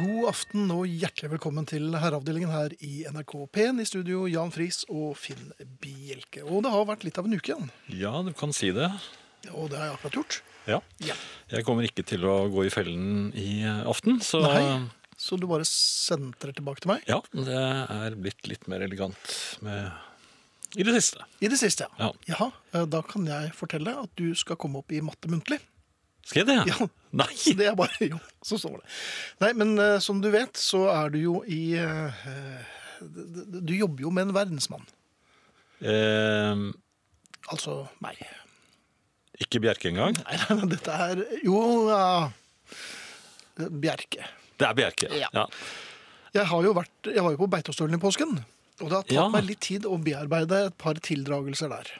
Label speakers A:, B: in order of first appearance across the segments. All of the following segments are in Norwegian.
A: God aften og hjertelig velkommen til Herreavdelingen her i NRK P1. I studio Jan Friis og Finn Bjelke. Og det har vært litt av en uke igjen.
B: Ja, du kan si det.
A: Og det har jeg akkurat gjort.
B: Ja.
A: Ja.
B: Jeg kommer ikke til å gå i fellen i eh, aften, så
A: Nei. Så du bare sendte det tilbake til meg?
B: ja, det er blitt litt mer elegant med i det siste.
A: I det siste,
B: Ja.
A: Jaha, eh, da kan jeg fortelle at du skal komme opp i matte muntlig.
B: Skal jeg det?
A: Ja.
B: Nei!
A: Så det er bare Jo, så står det. Nei, men eh, som du vet, så er du jo i eh, d- d- Du jobber jo med en verdensmann.
B: Eh,
A: Altså meg.
B: ikke Bjerke engang.
A: Nei, nei, nei, dette er Jo, ja. Bjerke.
B: Det er Bjerke.
A: Ja.
B: Ja.
A: Jeg, har jo vært, jeg var jo på Beitostølen i påsken, og det har tatt
B: Ja.
A: meg litt tid å bearbeide et par tildragelser der.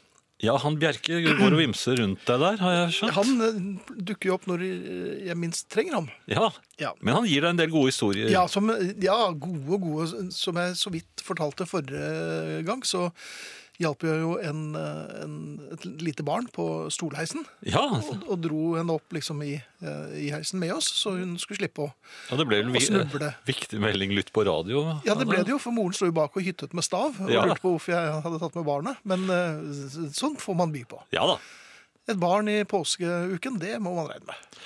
B: Ja, han Bjerke går og vimser rundt deg der, har jeg skjønt.
A: Han eh, dukker jo opp når eh, jeg minst trenger ham.
B: Ja.
A: Ja.
B: Men han gir deg en del gode historier.
A: Ja, som, ja, gode og gode. Som jeg så vidt fortalte forrige gang, så hjalp jeg jo en, eh, en, et lite barn på stolheisen.
B: Ja,
A: Og, og dro henne opp liksom i, eh, i heisen med oss, så hun skulle slippe å
B: og det ble en
A: Og snuble.
B: viktig melding lytt på radio.
A: Ja, det ble det jo, for moren sto jo bak og hyttet med stav. Og
B: Ja.
A: lurte på hvorfor jeg hadde tatt med barnet. Men eh, sånn får man by på.
B: Ja da.
A: Et barn i påskeuken, det må man regne med.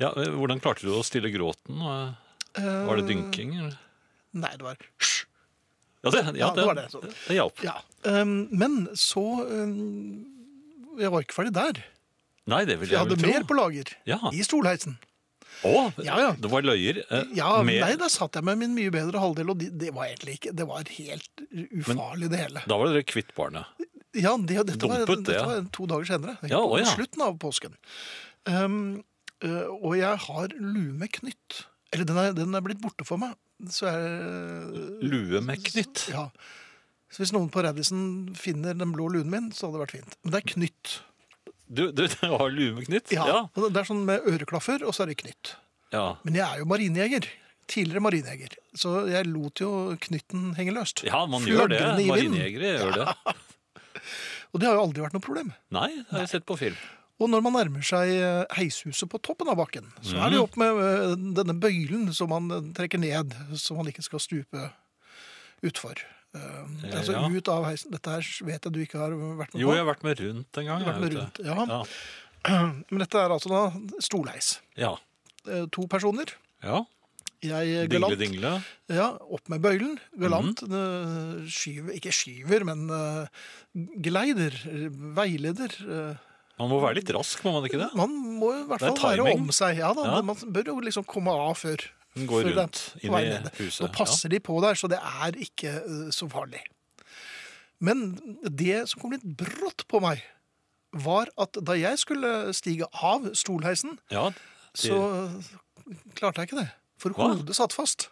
B: Ja, eh, hvordan klarte du å stille gråten? Og-
A: Eh,
B: Var det dynking? eller?
A: Nei, det var hysj.
B: Ja, det, ja,
A: Ja, det var det, så.
B: det, det hjalp.
A: Ja. Um, men så um, Jeg var ikke ferdig der.
B: Nei, det vil
A: For jeg
B: jeg
A: hadde
B: vel
A: mer
B: tro.
A: på lager.
B: Ja.
A: I stolheisen.
B: Å,
A: Ja, ja.
B: det var løyer. eh,
A: Ja,
B: med-
A: Nei, der satt jeg med min mye bedre halvdel, og de, det var egentlig ikke Det var helt ufarlig, det hele.
B: Da var dere kvitt barnet.
A: Ja, det, dette, var,
B: Dumpet det,
A: dette
B: ja.
A: var to dager senere.
B: Ja, å, ja.
A: På slutten av påsken. Um, eh, og jeg har lue med knytt. Eller den er, den er blitt borte for meg. Så jeg,
B: Lue med knytt.
A: ja. Så hvis noen på Radisson finner den blå luen min, så hadde det vært fint. Men det er knytt.
B: Du, du, du har lue med knytt?
A: Ja.
B: Ja.
A: Og Det er sånn med øreklaffer, og så er det knytt.
B: Ja,
A: Men jeg er jo marinejeger. Tidligere marinejeger. Så jeg lot jo knytten henge løst.
B: ja man gjør det.
A: Flagrende i vinden.
B: Marinejegere gjør det.
A: Og det har jo aldri vært noe problem.
B: Nei, det har jeg sett på film.
A: Og når man nærmer seg eh, heishuset på toppen av bakken, så er det
B: Mhm.
A: jo opp med eh, denne bøylen som man eh, trekker ned, så man ikke skal stupe utfor. Eh,
B: Eh,
A: Altså
B: ja.
A: ut av heisen. Dette her vet jeg du ikke har vært med
B: Jo,
A: på.
B: jeg har vært med rundt en gang.
A: Vært med
B: jeg vet
A: rundt,
B: det.
A: ja.
B: Ja.
A: Men dette er altså da stolheis.
B: ja.
A: Eh, To personer.
B: ja.
A: Jeg eh,
B: Dingle,
A: galant.
B: dingle.
A: Ja, opp med bøylen. Galant.
B: Mhm.
A: eh, Skyver, ikke skyver, men eh, gleider. eh, Veileder. eh,
B: Man må være litt rask, må man ikke det?
A: Man må i hvert
B: Det er
A: fall være
B: timing.
A: om seg. Ja, da,
B: Ja.
A: Man bør jo liksom komme av før.
B: Den går
A: før det er
B: rundt
A: på
B: inn
A: vei
B: i
A: ned.
B: huset,
A: Nå passer de på der, så det er ikke eh, så farlig. Men det som kom litt brått på meg, var at da jeg skulle stige av stolheisen,
B: Ja.
A: så klarte jeg ikke det. For
B: Hva?
A: hodet satt fast.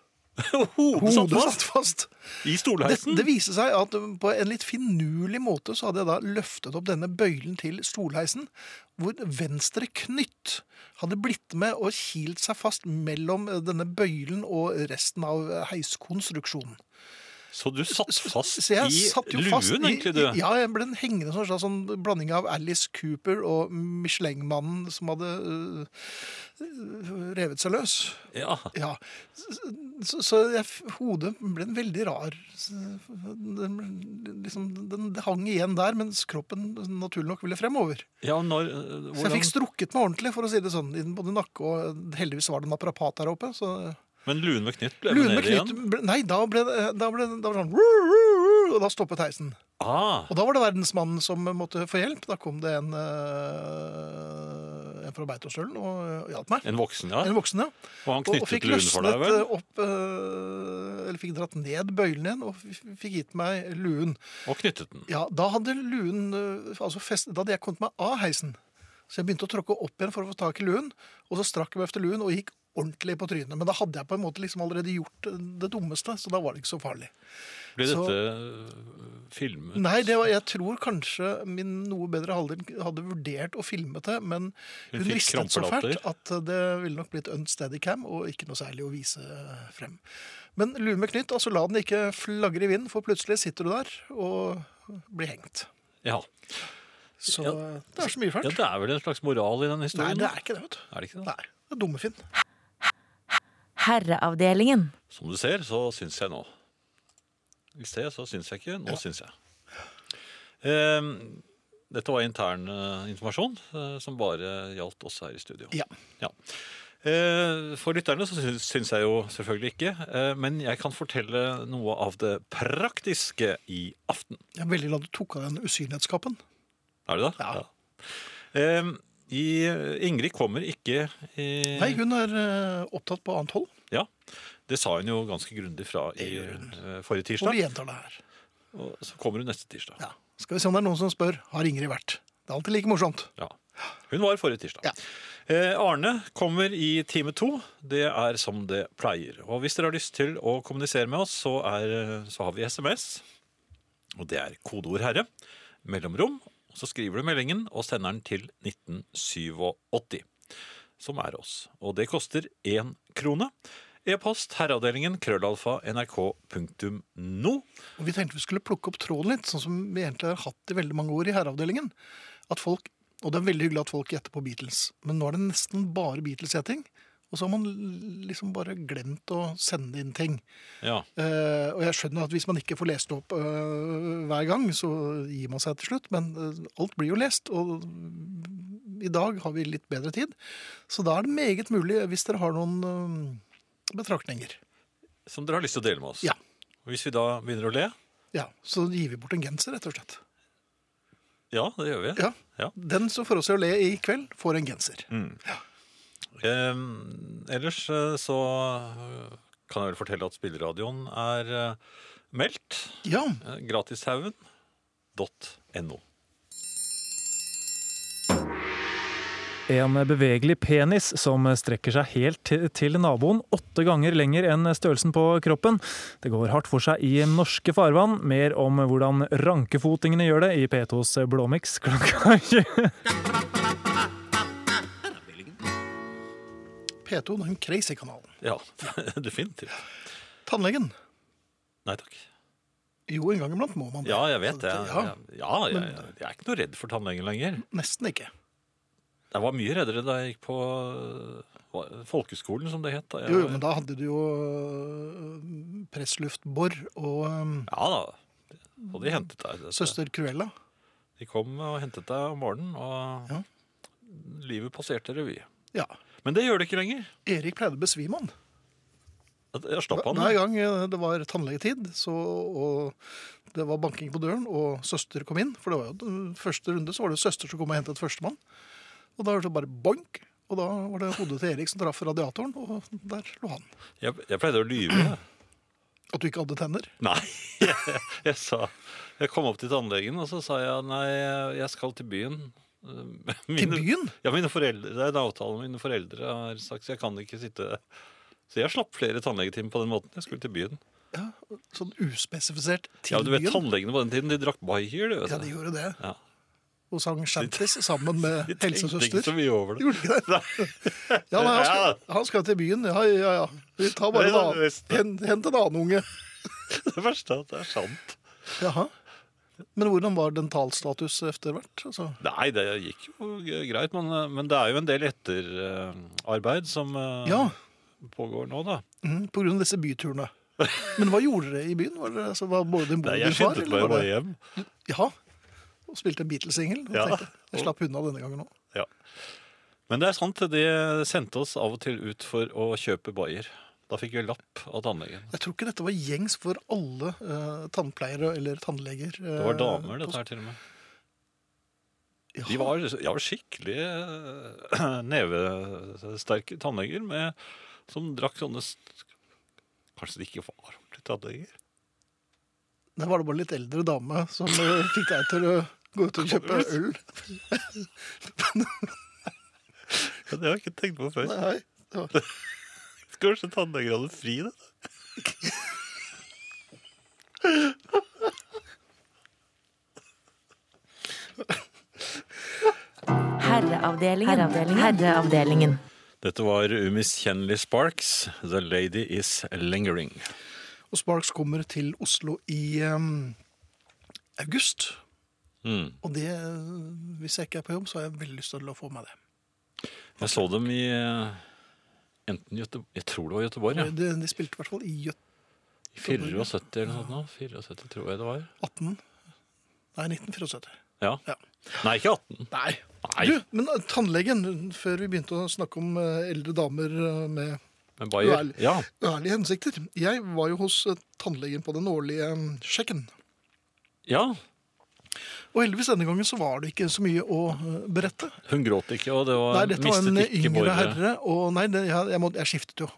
B: Hodet satt
A: Hodet
B: fast
A: satt fast.
B: i
A: Det,
B: stolheisen.
A: det viste seg at på en litt finurlig måte så hadde jeg da løftet opp denne bøylen til stolheisen, hvor venstre knytt hadde blitt med og kilt seg fast mellom denne bøylen og resten av heiskonstruksjonen.
B: Så du satt fast
A: Så jeg
B: i
A: satt jo
B: luen,
A: fast i-
B: egentlig, du?
A: i- Ja, jeg ble en hengende sånn, slags sånn blanding av Alice Cooper og Michelin-mannen som hadde øh, øh, revet seg løs.
B: Ja.
A: Ja, så, så jeg, f- hodet ble en veldig rar s- den, ble- liksom, den hang igjen der, mens kroppen naturlig nok ville fremover.
B: ja når, eh,
A: Så jeg
B: hvordan-
A: fikk strukket meg ordentlig, for å si det sånn. i den- Både nakke og Heldigvis var det naprapat der oppe. Så.
B: Men luen med knytt ble
A: Luen
B: med
A: med
B: ned
A: knytt
B: igjen?
A: ble- Nei, da ble det da ble, det- da var det sånn «Ru, ru, ru», Og da stoppet heisen.
B: Ah,
A: Og da var det verdensmannen som måtte få hjelp. Da kom det en, eh, en fra Beitostølen og eh, hjalp meg.
B: en voksen, ja.
A: En voksen, ja.
B: Og han
A: Og, og
B: knyttet
A: fikk
B: luen for deg,
A: løsnet
B: vel?
A: eh, opp eh, Eller fikk dratt ned bøylen igjen og f- fikk gitt meg luen.
B: Og knyttet den.
A: Ja, da hadde luen eh, altså fest, Da hadde jeg kommet meg av heisen. Så jeg begynte å tråkke opp igjen for å få tak i luen. Og så strakk jeg meg efter luen og gikk ordentlig på trynet. Men da hadde jeg på en måte liksom allerede gjort det dummeste, så da var det ikke så farlig.
B: Ble
A: Så-
B: dette øh, filmet?
A: Nei, det var, jeg tror kanskje min noe bedre halvdel hadde vurdert å filme det, men hun
B: Hun fikk
A: ristet så
B: krampelatter.
A: fælt at det ville nok blitt unsteady cam og ikke noe særlig å vise frem. Men lue med knytt, altså la den ikke flagre i vinden, for plutselig sitter du der og blir hengt.
B: Ja.
A: Så
B: Ja.
A: det er så mye
B: ja,
A: fælt.
B: det er vel en slags moral i den
A: Nei,
B: historien?
A: det er ikke det, vet du.
B: Er det ikke det?
A: Nei, det er dumme Finn.
C: Herreavdelingen.
B: Som du ser, så syns jeg nå. I sted så syns jeg ikke, nå syns jeg. Ehm, dette var intern eh, informasjon eh, som bare gjaldt oss her i studio.
A: Ja.
B: Eh, for lytterne så syns, syns jeg jo selvfølgelig ikke, eh, men jeg kan fortelle noe av det praktiske i aften.
A: Jeg er veldig glad du tok av den usynlighetskappen.
B: Er det det?
A: Ja.
B: Ehm, i, Ingrid kommer ikke i,
A: Nei, hun er eh, opptatt på annet hold,
B: Ja, Det sa hun jo ganske grundig fra i,
A: Det gjør hun.
B: eh, forrige
A: og vi
B: tirsdag.
A: gjentar det her.
B: Og så kommer hun neste tirsdag.
A: Ja. Skal vi se om det er noen som spør, har Ingrid vært? Det er alltid like morsomt.
B: Ja. Hun var forrige tirsdag.
A: Ja.
B: Eh, Arne kommer i time to. Det er som det pleier. Og hvis dere har lyst til å kommunisere med oss, så, er, så har vi SMS. Og det er kodeord herre. Mellomrom. Og så skriver du meldingen og sender den til 1987. Som er oss. Og det koster én krone. E-post herreavdelingen krøllalfa nrk.no.
A: Og vi tenkte vi skulle plukke opp tråden litt, sånn som vi egentlig har hatt i veldig mange år i herreavdelingen. At folk, og det er veldig hyggelig at folk gjetter på Beatles, men nå er det nesten bare Beatles-gjetting. Og så har man l- liksom bare glemt å sende inn ting.
B: Ja.
A: Eh, og jeg skjønner at hvis man ikke får lest opp eh, hver gang, så gir man seg til slutt. Men eh, alt blir jo lest, og i dag har vi litt bedre tid. Så da er det meget mulig, hvis dere har noen eh, betraktninger.
B: Som dere har lyst til å dele med oss.
A: Ja.
B: Og Hvis vi da begynner å le
A: Ja, Så gir vi bort en genser, rett og slett.
B: Ja, det gjør vi.
A: Ja.
B: Ja.
A: Den som får oss til å le i kveld, får en genser.
B: Eh, ellers eh, så eh, kan jeg vel fortelle at spilleradioen er eh, meldt.
A: Ja,
B: Eh, Gratishaugen.no.
D: En bevegelig penis som strekker seg helt til- til naboen, åtte ganger lenger enn størrelsen på kroppen. Det går hardt for seg i norske farvann. Mer om hvordan rankefotingene gjør det i P2s Blåmix klokka 20.
A: P2, den crazy-kanalen.
B: Ja, definitivt.
A: Tannlegen.
B: Nei takk.
A: Jo, en gang iblant må man det.
B: Ja, jeg vet det.
A: Ja,
B: Ja, ja jeg, jeg er ikke noe redd for tannlegen lenger.
A: Nesten ikke.
B: Jeg var mye reddere da jeg gikk på eh, hva- folkeskolen, som det het. da jeg
A: Jo, jo,
B: var-
A: men da hadde du jo øh, pressluftbor og øhm,
B: Ja da. Og de hentet deg.
A: søster Cruella.
B: De kom og hentet deg om morgenen, og
A: Ja.
B: livet passerte revy.
A: Ja.
B: Men det gjør det ikke lenger.
A: Erik pleide å besvime han.
B: Jeg slapp han.
A: Hver gang eh, det var tannlegetid, så, og det var banking på døren, og søster kom inn For det var jo den første runde, så var det jo søster som kom og hentet førstemann. Og da hørte det bare boink, og da var det hodet til Erik som traff radiatoren, og der lå han.
B: Jeg, jeg pleide å lyve.
A: At du ikke hadde tenner?
B: Nei, jeg, jeg sa Jeg kom opp til tannlegen, og så sa jeg nei, jeg skal til byen. Mine,
A: Til byen?
B: Ja, mine foreldre, det er en avtale mine foreldre har sagt, så jeg kan ikke sitte Så jeg slapp flere tannlegetimer på den måten. Jeg skulle til byen.
A: Ja, Sånn uspesifisert til
B: ja, du vet,
A: byen?
B: Tannlegene på den tiden de drakk Bayer. Du vet.
A: Ja, de gjorde det.
B: Ja.
A: Og sang shanties sammen med
B: De tenkte ikke
A: helsesøster.
B: så mye over det.
A: Gjorde ikke det? Ja, nei, han, skal, han skal til byen. Ja, ja, ja. Vi tar bare en
B: Det er sånn det
A: annen.
B: beste.
A: Hent, hent en annen unge.
B: Det verste er at det er sant.
A: Jaha. Men hvordan var dentalstatus etter hvert? Altså,
B: Nei, det gikk jo greit, men, men det er jo en del etterarbeid som eh,
A: ja,
B: pågår nå, da.
A: mm, på grunn av disse byturene. Men hva gjorde dere i byen? Var det, altså, var både din mor
B: Nei,
A: og
B: jeg
A: din far?
B: skyndte
A: eller
B: meg
A: var
B: bare
A: det-
B: hjem.
A: Ja. Og spilte en Beatles-singel. og
B: Ja.
A: tenkte, Jeg slapp unna denne gangen òg.
B: Ja. Men det er sant, de sendte oss av og til ut for å kjøpe Bayer. Da fikk vi lapp av tannlegen.
A: Jeg tror ikke dette var gjengs for alle eh, tannpleiere eller tannleger. eh,
B: Det var damer,
A: på-
B: dette her, til og med.
A: Ja.
B: De var, ja, skikkelig eh, nevesterke tannleger med, som drakk sånne st- Kanskje de ikke var ordentlige tannleger?
A: Der var det bare litt eldre dame som eh, fikk deg til å gå ut og kjøpe øl.
B: Ja, det har jeg ikke tenkt på før.
A: Nei, det var-
B: Kanskje tannleger hadde fri, det.
C: Herreavdelingen. Herreavdelingen.
B: Dette var umiskjennelig Sparks. The lady is lingering.
A: Og Sparks kommer til Oslo i em, august.
B: Mm.
A: Og det, eh, hvis jeg ikke er på jobb, så har jeg veldig lyst til å få med det.
B: Jeg så dem i eh, enten Göteborg, Jeg tror det var Göteborg, ja.
A: De, de spilte i hvert fall i Gjøt-
B: I 74 eller noe sånt. nå. 74 tror jeg det var.
A: 18 Nei, 1974.
B: Ja.
A: Ja.
B: Nei, ikke 18.
A: Nei.
B: Nei,
A: Du, men eh, tannlegen, før vi begynte å snakke om eh, eldre damer eh, med
B: men Bayer.
A: Vel.
B: Ja.
A: ærlige hensikter Jeg var jo hos eh, tannlegen på den årlige eh, sjekken.
B: ja.
A: Og heldigvis denne gangen så var det ikke så mye å eh, berette.
B: Hun gråt ikke, og det var
A: Nei, dette var en
B: mistet ikke
A: yngre
B: Borre.
A: herre, og nei, det, jeg, jeg, må, jeg skiftet jo.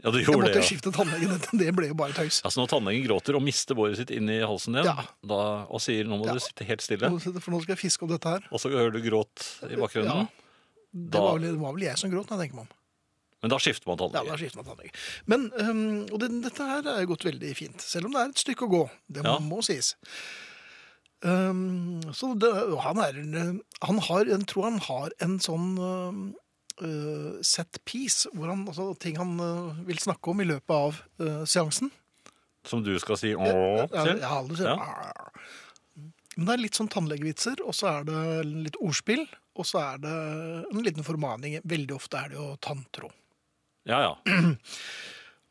B: Ja, du
A: Jeg
B: gjorde
A: måtte
B: det, ja.
A: skifte tannlegen. Det- Det ble jo bare tøys.
B: Altså Når tannlegen gråter og mister båret sitt inni halsen din
A: Ja.
B: da, og sier 'nå må
A: Ja.
B: du sitte helt stille',
A: Nå- For nå skal jeg fiske opp dette her.
B: og så hører du gråt i bakgrunnen,
A: Ja. Det
B: Da-
A: var vel, det var vel jeg som gråt, når jeg tenker meg om.
B: men da skifter man
A: Ja,
B: tannlege.
A: da skifter man tannlege. Men, øhm, og det, dette her er jo gått veldig fint, selv om det er et stykke å gå. Det må,
B: Ja.
A: må sies. Øhm, så det, og han er en- Han har, jeg tror han har en sånn øhm, øh, set piece, hvor han, altså, ting han øh, vil snakke om i løpet av øh, seansen.
B: Som du skal si 'åh'
A: Ja,
B: til.
A: ja, alle sier,
B: Ja.
A: "Arr". Men det er litt sånn tannlegevitser, og så er det litt ordspill, og så er det en liten formaning. Veldig ofte er det jo tanntråd.
B: Ja, ja.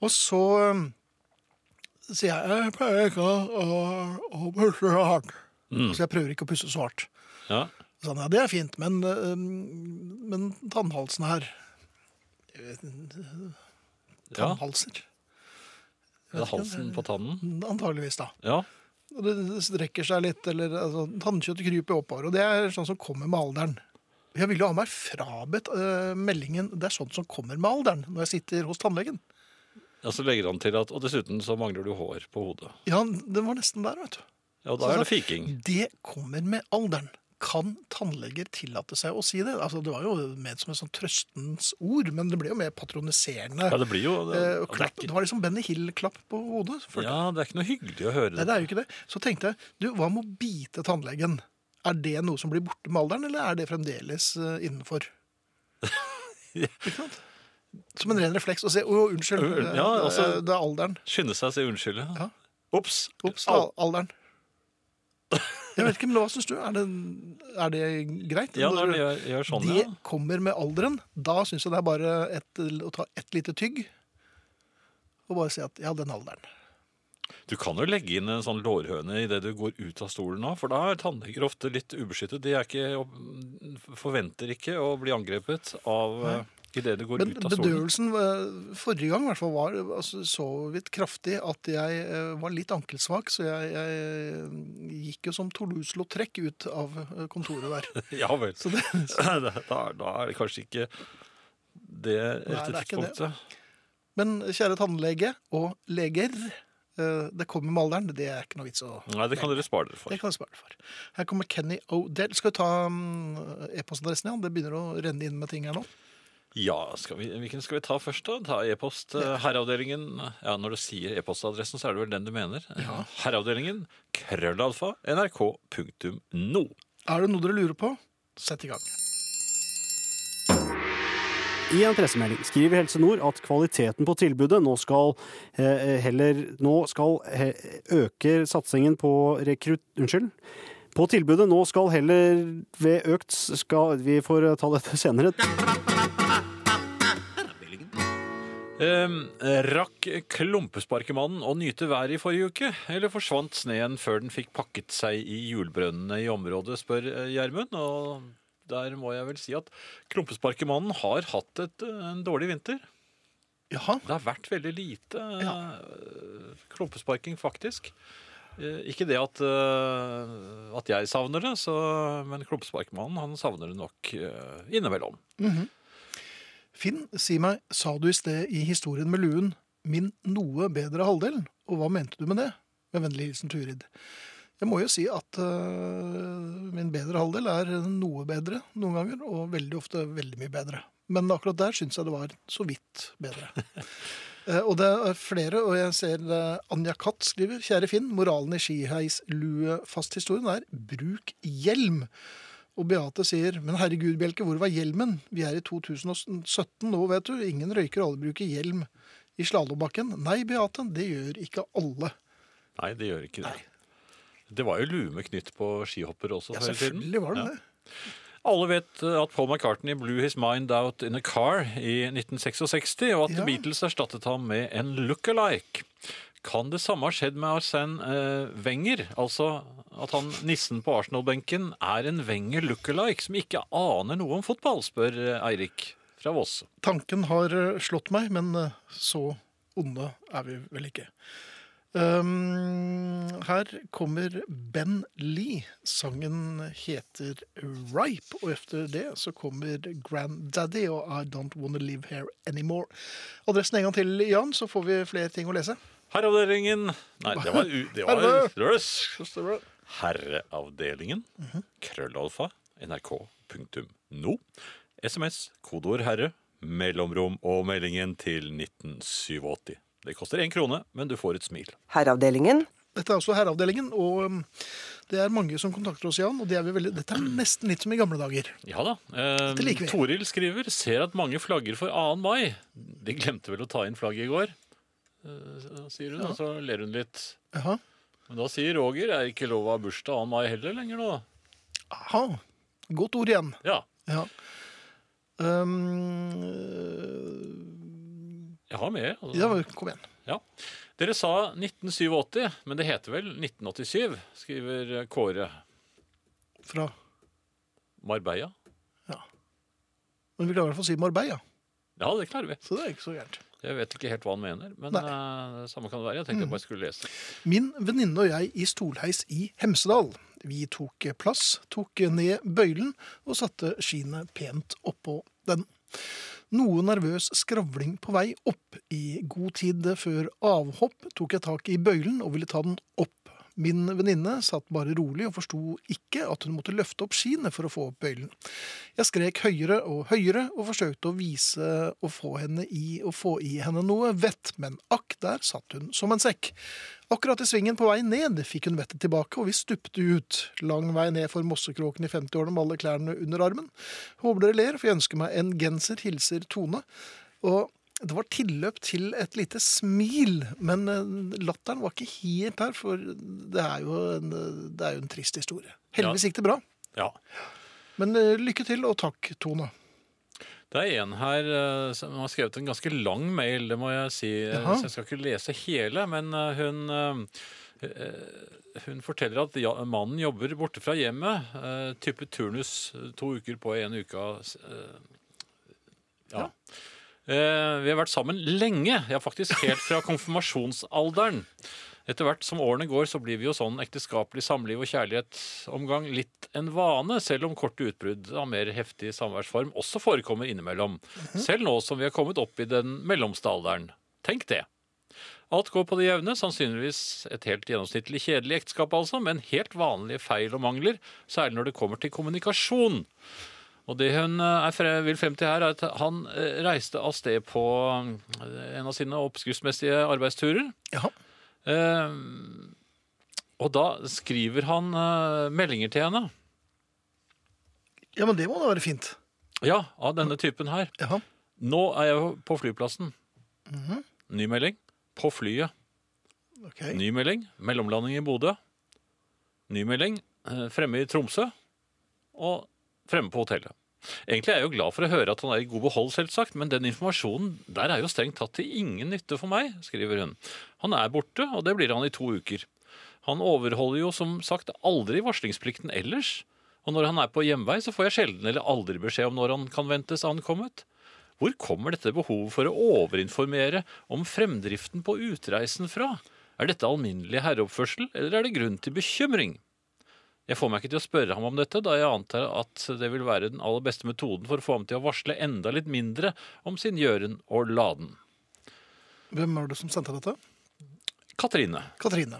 A: Og så um, sier jeg jeg pleier ikke å, å, å pusse så hardt. Så jeg prøver ikke å pusse så hardt.
B: ja.
A: Så han, ja, det er fint, men, um, men tannhalsen her Jeg vet ikke,
B: ja.
A: Tannhalser.
B: Det er halsen på tannen.
A: Antageligvis, da.
B: Ja.
A: Og Det det strekker seg litt, eller altså, tannkjøttet kryper oppover. Og det er sånn som kommer med alderen. Jeg ville ha meg frabedt eh, meldingen 'det er sånt som kommer med alderen' når jeg sitter hos tannlegen.
B: Og så legger han til at Og dessuten så mangler du hår på hodet.
A: Ja, den var nesten der, vet du.
B: Ja, og da er det fiking.
A: Det kommer med alderen. Kan tannleger tillate seg å si det? Altså, det var jo med som et sånn trøstens ord, men det ble jo mer patroniserende.
B: Ja, det blir jo det,
A: Eh, og
B: det, er
A: klapp, det
B: ikke,
A: var liksom Benny Hill-klapp på hodet. følte jeg.
B: ja, det er ikke noe hyggelig å
A: Nei,
B: høre
A: det
B: det.
A: er jo ikke det. Så tenkte jeg, du, hva med å bite tannlegen? Er det noe som blir borte med alderen, eller er det fremdeles eh, innenfor?
B: Ja.
A: Ikke sant? Som en ren refleks å si 'å, unnskyld,
B: Ul-
A: eh,
B: ja, altså-
A: eh, det er alderen'.
B: Skynde seg å si unnskyld. Ja.
A: Ja.
B: Ops.
A: Ops, det er alderen. Jeg vet ikke, men hva syns du? Er det, er det greit?
B: Ja, når du gjør, gjør sånn,
A: det
B: ja.
A: kommer med alderen. Da syns jeg det er bare et, å ta ett lite tygg og bare si at ja, den alderen.
B: Du kan jo legge inn en sånn lårhøne idet du går ut av stolen nå, for da er tannleger ofte litt ubeskyttet. De er ikke, forventer ikke å bli angrepet av idet du går
A: Men
B: ut av stolen.
A: bedøvelsen eh, forrige gang i hvert fall var altså, så vidt kraftig at jeg eh, var litt ankelsvak, så jeg, jeg gikk jo som Toulouse-Lautrec ut av eh, kontoret der.
B: Ja vel.
A: Så det,
B: Da, da er det kanskje ikke det
A: Nei, det
B: rette
A: er ikke det.
B: tidspunktet.
A: men kjære tannlege og leger, eh, det kommer med alderen. Det er ikke noe vits å
B: Nei, det kan dere spare dere
A: Det
B: for.
A: kan jeg spare deg for. Her kommer Kenny O'Dell. Skal vi ta mm, e-postadressen igjen? Det begynner å renne inn med ting her nå.
B: Ja, skal vi, Hvilken skal vi ta først, da? Ta e-post. eh, Herreavdelingen. Ja, Når du sier e-postadressen, så er det vel den du mener. Herreavdelingen. Krøllalfa. NRK.no.
A: Er det noe dere lurer på? Sett i gang.
E: I en pressemelding skriver Helse Nord at kvaliteten på tilbudet nå skal eh, heller Nå skal eh, øke satsingen på rekrutt... Unnskyld. På tilbudet nå skal heller ved økt skal Vi får eh, ta dette senere.
B: Ehm, rakk klumpesparkemannen å nyte været i forrige uke, eller forsvant sneen før den fikk pakket seg i hjulbrønnene i området, spør eh, Gjermund. Og der må jeg vel si at klumpesparkemannen har hatt et, eh, en dårlig vinter.
A: Jaha.
B: Det har vært veldig lite eh, klumpesparking, faktisk. Eh, Ikke det at, eh, at jeg savner det, så, men klumpesparkemannen han savner det nok eh, innimellom.
A: Finn, si meg, sa du i sted i historien med luen 'min noe bedre halvdel'? Og hva mente du med det? Med vennlig hilsen Turid. Jeg må jo si at eh, øh, min bedre halvdel er noe bedre noen ganger, og veldig ofte veldig mye bedre. Men akkurat der syns jeg det var så vidt bedre. Eh, Og det er flere, og jeg ser eh, Anja Katt skriver Kjære Finn, moralen i skiheislue-fasthistorien er bruk hjelm. Og Beate sier Men herregud, Bjelke, hvor var hjelmen? Vi er i 2017 nå, vet du. Ingen røyker, alle bruker hjelm i slalåmbakken. Nei, Beate, det gjør ikke alle.
B: Nei, det gjør ikke det. Det var jo lue med knytt på skihoppere også.
A: Ja,
B: hele tiden.
A: selvfølgelig var det
B: Ja.
A: det.
B: Alle vet eh, at Paul McCartney blew his mind out in a car i 1966, og at
A: Ja.
B: The Beatles erstattet ham med en look-alike. Kan det samme ha skjedd med Arsène eh, Wenger? Altså at han nissen på Arsenal-benken er en Wenger look-alike som ikke aner noe om fotball, spør eh, Eirik fra Voss.
A: Tanken har eh, slått meg, men eh, så onde er vi vel ikke. Um, her kommer Ben Lee. Sangen heter Ripe, og etter det så kommer Granddaddy og I Don't Wanna Live Here Anymore. Adressen en gang til, Jan, så får vi flere ting å lese.
B: Herreavdelingen Nei, det var, u- det var
A: Herre!
B: løs.
A: det
B: Herreavdelingen. Krøllalfa. NRK.no. SMS, kodeord 'herre', mellomrom og meldingen til 1987. Det koster én krone, men du får et smil.
F: Herreavdelingen.
A: Dette er også Herreavdelingen, og um, det er mange som kontakter oss, Jan. Og det er vi veldig, dette er nesten litt som i gamle dager.
B: Ja da. Eh,
A: Dette liker vi.
B: Toril skriver ser at mange flagger for 2. mai. De glemte vel å ta inn flagget i går, eh, sier hun, og så ler hun litt.
A: Jaha.
B: Men da sier Roger er ikke lov å ha bursdag 2. mai heller lenger nå.
A: Aha. Godt ord igjen.
B: Ja.
A: Ja. Um,
B: Jeg har med. altså.
A: ja, kom igjen.
B: Ja. Dere sa 1987, men det heter vel 1987, skriver Kåre
A: Fra
B: Marbella.
A: Men vi klarer i hvert fall å si Marbella,
B: Ja, det klarer vi.
A: så det er ikke så gærent.
B: Jeg vet ikke helt hva han mener, men
A: Nei.
B: eh, det samme kan det være. Jeg tenkte jeg bare skulle lese.
A: Min venninne og jeg i stolheis i Hemsedal. Vi tok plass, tok ned bøylen og satte skiene pent oppå den. Noe nervøs skravling på vei opp. I god tid før avhopp tok jeg tak i bøylen og ville ta den opp. Min venninne satt bare rolig og forsto ikke at hun måtte løfte opp skiene for å få opp bøylen. Jeg skrek høyere og høyere og forsøkte å vise og få henne i og få i henne noe vett, men akk, der satt hun som en sekk. Akkurat i svingen på vei ned fikk hun vettet tilbake, og vi stupte ut. Lang vei ned for Mossekråken i 50-årene med alle klærne under armen. Håper dere ler, for jeg ønsker meg en genser, hilser Tone. Og det var tilløp til et lite smil, men eh, latteren var ikke helt der, for det er jo en, eh, det er jo en trist historie. Heldigvis gikk det bra.
B: Ja.
A: Men eh, lykke til, og takk, Tone.
B: Det er en her eh, som har skrevet en ganske lang mail, det må jeg si. eh,
A: Jaha.
B: Så jeg skal ikke lese hele, men eh, hun eh, eh, hun forteller at ja, mannen jobber borte fra hjemmet, eh, type turnus eh, to uker på en uke. av s- eh, ja. Eh, vi har vært sammen lenge, ja faktisk helt fra konfirmasjonsalderen. Etter hvert som årene går, så blir vi jo sånn ekteskapelig samliv og kjærlighetsomgang litt en vane, selv om korte utbrudd av mer heftig samværsform også forekommer innimellom. Selv nå som vi er kommet opp i den mellomste alderen. Tenk det. Alt går på det jevne, sannsynligvis et helt gjennomsnittlig kjedelig ekteskap altså, men helt vanlige feil og mangler, særlig når det kommer til kommunikasjon. Og det hun eh, er fre vil frem til her, er at han eh, reiste av sted på eh, en av sine oppskriftsmessige arbeidsturer.
A: Jaha.
B: Eh, og da skriver han eh, meldinger til henne.
A: Ja, men det må da være fint.
B: Ja, av denne typen her.
A: Jaha.
B: Nå er jeg på flyplassen. Ny melding. På flyet.
A: Ok.
B: Ny melding. Mellomlanding i Bodø. Ny melding. eh, Fremme i Tromsø. Og fremme på hotellet. Egentlig er jeg jo glad for å høre at han er i god behold, selvsagt, men den informasjonen der er jo strengt tatt til ingen nytte for meg, skriver hun. Han er borte, og det blir han i to uker. Han overholder jo som sagt aldri varslingsplikten ellers, og når han er på hjemvei, så får jeg sjelden eller aldri beskjed om når han kan ventes ankommet. Hvor kommer dette behovet for å overinformere om fremdriften på utreisen fra? Er dette alminnelig herreoppførsel, eller er det grunn til bekymring? Jeg får meg ikke til å spørre ham om dette, da jeg antar at det vil være den aller beste metoden for å få ham til å varsle enda litt mindre om sin gjøren og laden.
A: Hvem er det som sendte dette?
B: Katrine.
A: Katrine.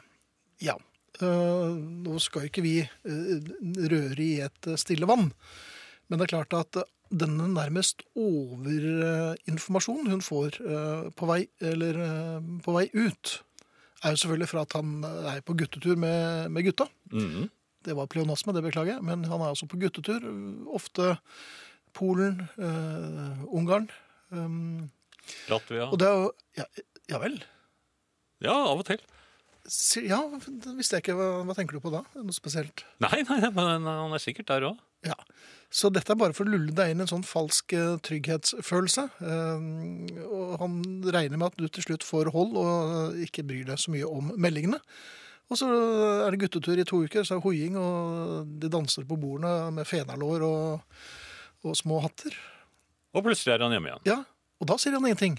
A: Ja. Eh, nå skal ikke vi eh, røre i et eh, stille vann, men det er klart at eh, denne nærmest overinformasjonen hun får eh, på vei, eller, eh, på vei ut, er jo selvfølgelig fra at han eh, er på guttetur med, med gutta.
B: Mhm.
A: Det var pleonasme, det beklager jeg, men han er altså på guttetur. Ofte Polen, eh, Ungarn. Um,
B: Latvia.
A: og det er jo ja, ja vel.
B: Ja, av og til.
A: Si- Ja, det visste jeg ikke. Hva, hva tenker du på da? Noe spesielt?
B: Nei, nei, nei, men han er sikkert der òg.
A: Ja. Så dette er bare for å lulle deg inn i en sånn falsk eh, trygghetsfølelse. Eh, Og han regner med at du til slutt får hold og eh, ikke bryr deg så mye om meldingene. Og så er det guttetur i to uker, så er det hoiing, og de danser på bordene med fenalår og, og små hatter.
B: Og plutselig er han hjemme igjen.
A: Ja, Og da sier han ingenting.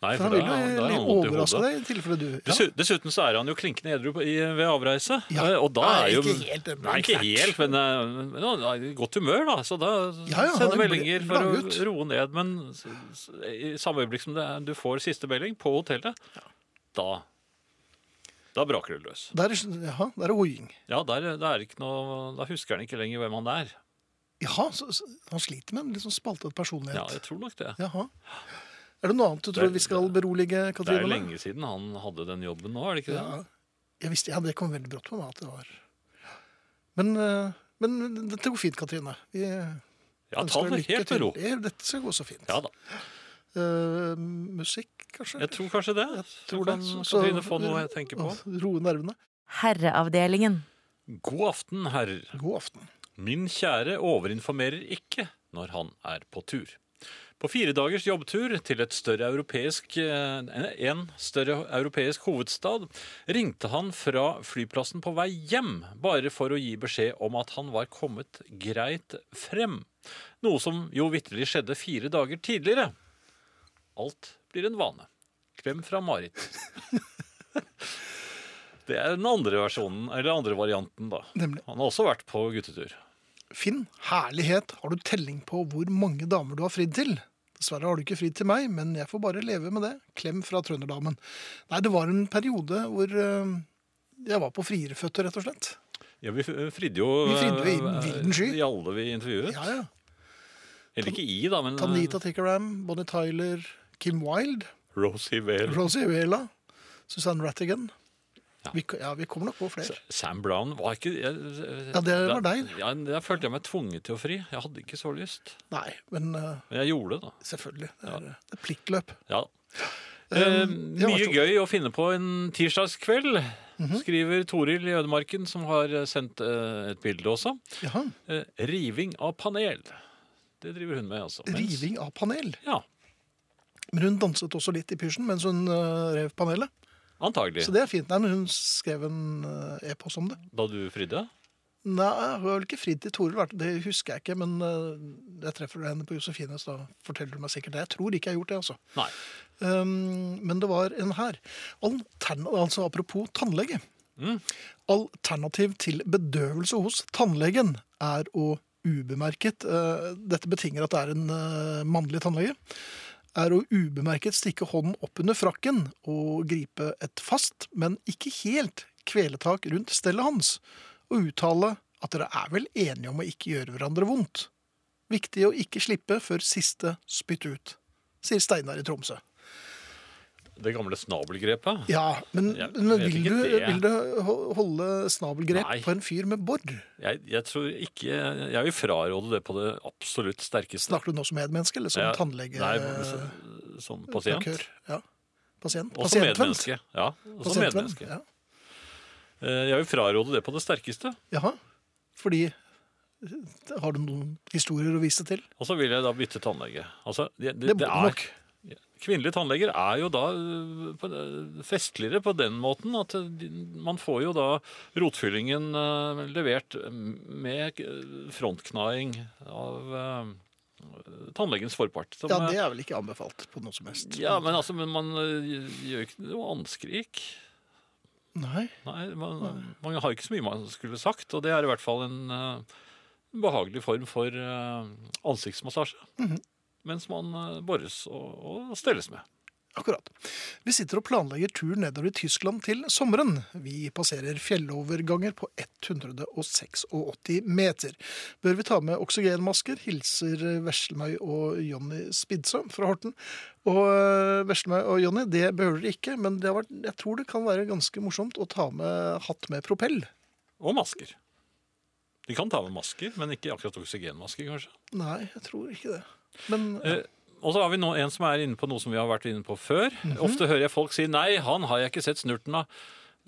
B: Nei,
A: For han
B: da-
A: vil jo
B: da er han
A: litt
B: vondt i
A: overraske
B: hodet.
A: deg i tilfelle du ja.
B: Dessu- Dessuten så er han jo klinkende edru på- i- ved avreise.
A: Ja.
B: eh, Og da
A: Nei,
B: er jo
A: ikke helt, det blir
B: Nei, ikke
A: knert.
B: helt, men, eh, men han er i godt humør, da. Så da
A: Ja, ja,
B: sender
A: han er
B: meldinger
A: bl-
B: for å
A: blanggutt.
B: roe ned. Men s- s- i samme øyeblikk som det er, du får siste melding på hotellet, da da braker det løs.
A: Der, er- jaha, der er hoiing.
B: Ja, der, der er det ikke noe, Da husker han ikke lenger hvem han er.
A: Jaha, så, så, han sliter med en litt sånn spaltet
B: Ja,
A: personlighet.
B: jeg tror nok det.
A: Jaha. Er det noe annet du tror
B: Det-
A: vi skal berolige
B: Det er
A: Katrine
B: jo
A: med?
B: lenge siden han hadde den jobben nå, er det ikke det?
A: Ja. Jeg visste, ja, det kom veldig brått på meg at det var Men, eh, men dette går fint, Katrine. Vi
B: Ja, ta
A: ønsker deg
B: det
A: lykke
B: helt med
A: til.
B: ro.
A: Ja, Dette skal gå så fint.
B: Ja da.
A: Eh, musikk, kanskje?
B: Jeg tror kanskje det.
A: Tror
B: Så
A: det.
B: kan
A: Så- så-
B: Katrine få noe jeg tenker på.
A: Å, Roe nervene.
C: Herreavdelingen.
B: God aften, herrer.
A: God aften.
B: Min kjære overinformerer ikke når han er på tur. På fire dagers jobbtur til et større europeisk, eh, en større europeisk hovedstad ringte han fra flyplassen på vei hjem, bare for å gi beskjed om at han var kommet greit frem. Noe som jo vitterlig skjedde fire dager tidligere. Alt blir en vane. Klem fra Marit. Det er den andre versjonen, eller andre varianten, da.
A: Nemlig.
B: Han har også vært på guttetur.
A: Finn, herlighet, har du telling på hvor mange damer du har fridd til? Dessverre har du ikke fridd til meg, men jeg får bare leve med det. Klem fra trønderdamen. Nei, det var en periode hvor eh, jeg var på friereføtter, rett og slett.
B: Ja, vi f- fridde jo
A: Vi fridde jo i
B: eh,
A: vilden sky.
B: I alle vi intervjuet.
A: Ja, ja.
B: Eller ikke i, da, men eh,
A: Tanita Tickeram, Bonnie Tyler, Kim Wilde,
B: Rosie Vale.
A: Rosie Uela, Susanne Rattigan.
B: Ja.
A: Vi, ja, vi kommer nok på flere.
B: Sam Brown var ikke jeg,
A: Ja, det var
B: da-
A: deg.
B: Ja, der følte jeg meg tvunget til å fri. Jeg hadde ikke så lyst.
A: Nei, men eh,
B: Men jeg gjorde det, da.
A: selvfølgelig. Det er, det er pliktløp.
B: Ja. Eh,
A: Um, ja, vær
B: mye
A: så Mhm. god.
B: gøy å finne på en tirsdagskveld, skriver Toril i Ødemarken, som har sendt eh, et bilde også.
A: Jaha.
B: Eh, riving av panel. Det driver hun med, altså. Mens-
A: Riving av panel.
B: Ja,
A: Men hun danset også litt i pysjen mens hun eh, rev panelet.
B: antagelig.
A: Så det er fint. Nei, men hun skrev en eh, e-post om det.
B: Da du fridde?
A: Nei, hun har vel ikke fridd til Toril, vært- det husker jeg ikke. Men eh, jeg treffer henne på Josefines, da forteller hun meg sikkert det. Jeg tror ikke jeg har gjort det, altså.
B: Nei.
A: Um, men det var en her. Altern altså apropos tannlege. Alternativ til bedøvelse hos tannlegen er å ubemerket eh, Dette betinger at det er en eh, mannlig tannlege. Er å ubemerket stikke hånden opp under frakken og gripe et fast, men ikke helt, kveletak rundt stellet hans og uttale at dere er vel enige om å ikke gjøre hverandre vondt. Viktig å ikke slippe før siste spytt ut, sier Steinar i Tromsø.
B: Det gamle snabelgrepet?
A: Ja, men,
B: Jeg
A: men
B: vet
A: vil,
B: ikke
A: du,
B: det.
A: vil du ho- holde snabelgrep
B: Nei.
A: på en fyr med bor?
B: Jeg, jeg tror ikke Jeg vil fraråde det på det absolutt sterkeste.
A: Snakker du nå som medmenneske eller som
B: Jeg-
A: tannlege?
B: Nei, s- som pasient.
A: snakør? Ja. Pasient.
B: Og som
A: Pasientvenn.
B: medmenneske. Ja, og som
A: Pasientvenn,
B: medmenneske.
A: Ja.
B: Eh, Jeg vil fraråde det på det sterkeste.
A: Jaha. Fordi eh, Har du noen historier å vise til?
B: Og så vil jeg da bytte tannlege. Altså, det,
A: Det må
B: det, det
A: du
B: er,
A: nok.
B: kvinnelige tannleger er jo da øh, på- øh, festligere på den måten at øh, de- man får jo da rotfyllingen øh, levert øh, med øh, frontknaing av øh, tannlegens forpart. som eh,
A: Ja,
B: er-
A: det er vel ikke anbefalt på noe som helst.
B: Ja, men altså, men man eh, gjør ikke noe anskrik.
A: Nei.
B: Nei, man, man har ikke så mye man skulle sagt, og det er i hvert fall en eh, behagelig form for eh, ansiktsmassasje. Mens man eh, bores og, og stelles med.
A: Akkurat. Vi sitter og planlegger tur nedover i Tyskland til sommeren. Vi passerer fjelloverganger på 186 meter. Bør vi ta med oksygenmasker? Hilser Veslemøy og Jonny Spidsø fra Horten. Og øh, Veslemøy og Jonny, det behøver dere ikke, men det har vært, jeg tror det kan være ganske morsomt å ta med hatt med propell.
B: Og masker. De kan ta med masker, men ikke akkurat oksygenmasker, kanskje.
A: Nei, jeg tror ikke det. Men
B: Eh, og så har vi nå en som er inne på noe som vi har vært inne på før.
A: Mhm.
B: Ofte hører jeg folk si 'nei, han har jeg ikke sett snurten av'.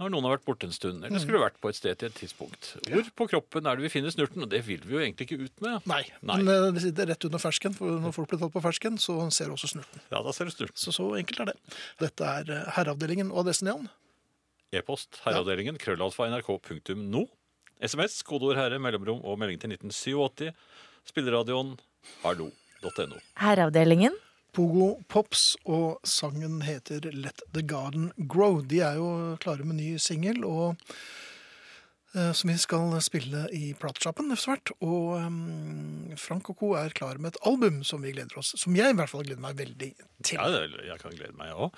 B: Når noen har vært borte en stund,
A: Mhm.
B: eller skulle vært på et sted til et tidspunkt. Hvor på kroppen er det vi finner snurten? Og det vil vi jo egentlig ikke ut med.
A: nei.
B: Nei.
A: Men øh, det sitter rett under fersken, for når folk blir tatt på fersken, så ser du også snurten.
B: Ja, da ser du snurten.
A: Så så enkelt er det. Dette er eh, Herreavdelingen og adressen igjen.
B: E-post herreavdelingen krøllalfa nrk.no. SMS kodeord herre mellomrom og melding til 1987. Spilleradioen hallo.no.
C: Herreavdelingen.
A: Pogo Pops, og sangen heter Let the Garden Grow. De er jo klare med ny singel, og eh, som vi skal spille i platesjappen etter hvert. Og eh, Frank og co. er klar med et album som vi gleder oss Som jeg i hvert fall gleder meg veldig
B: Ja,
A: til.
B: det er- jeg kan glede meg, jeg òg.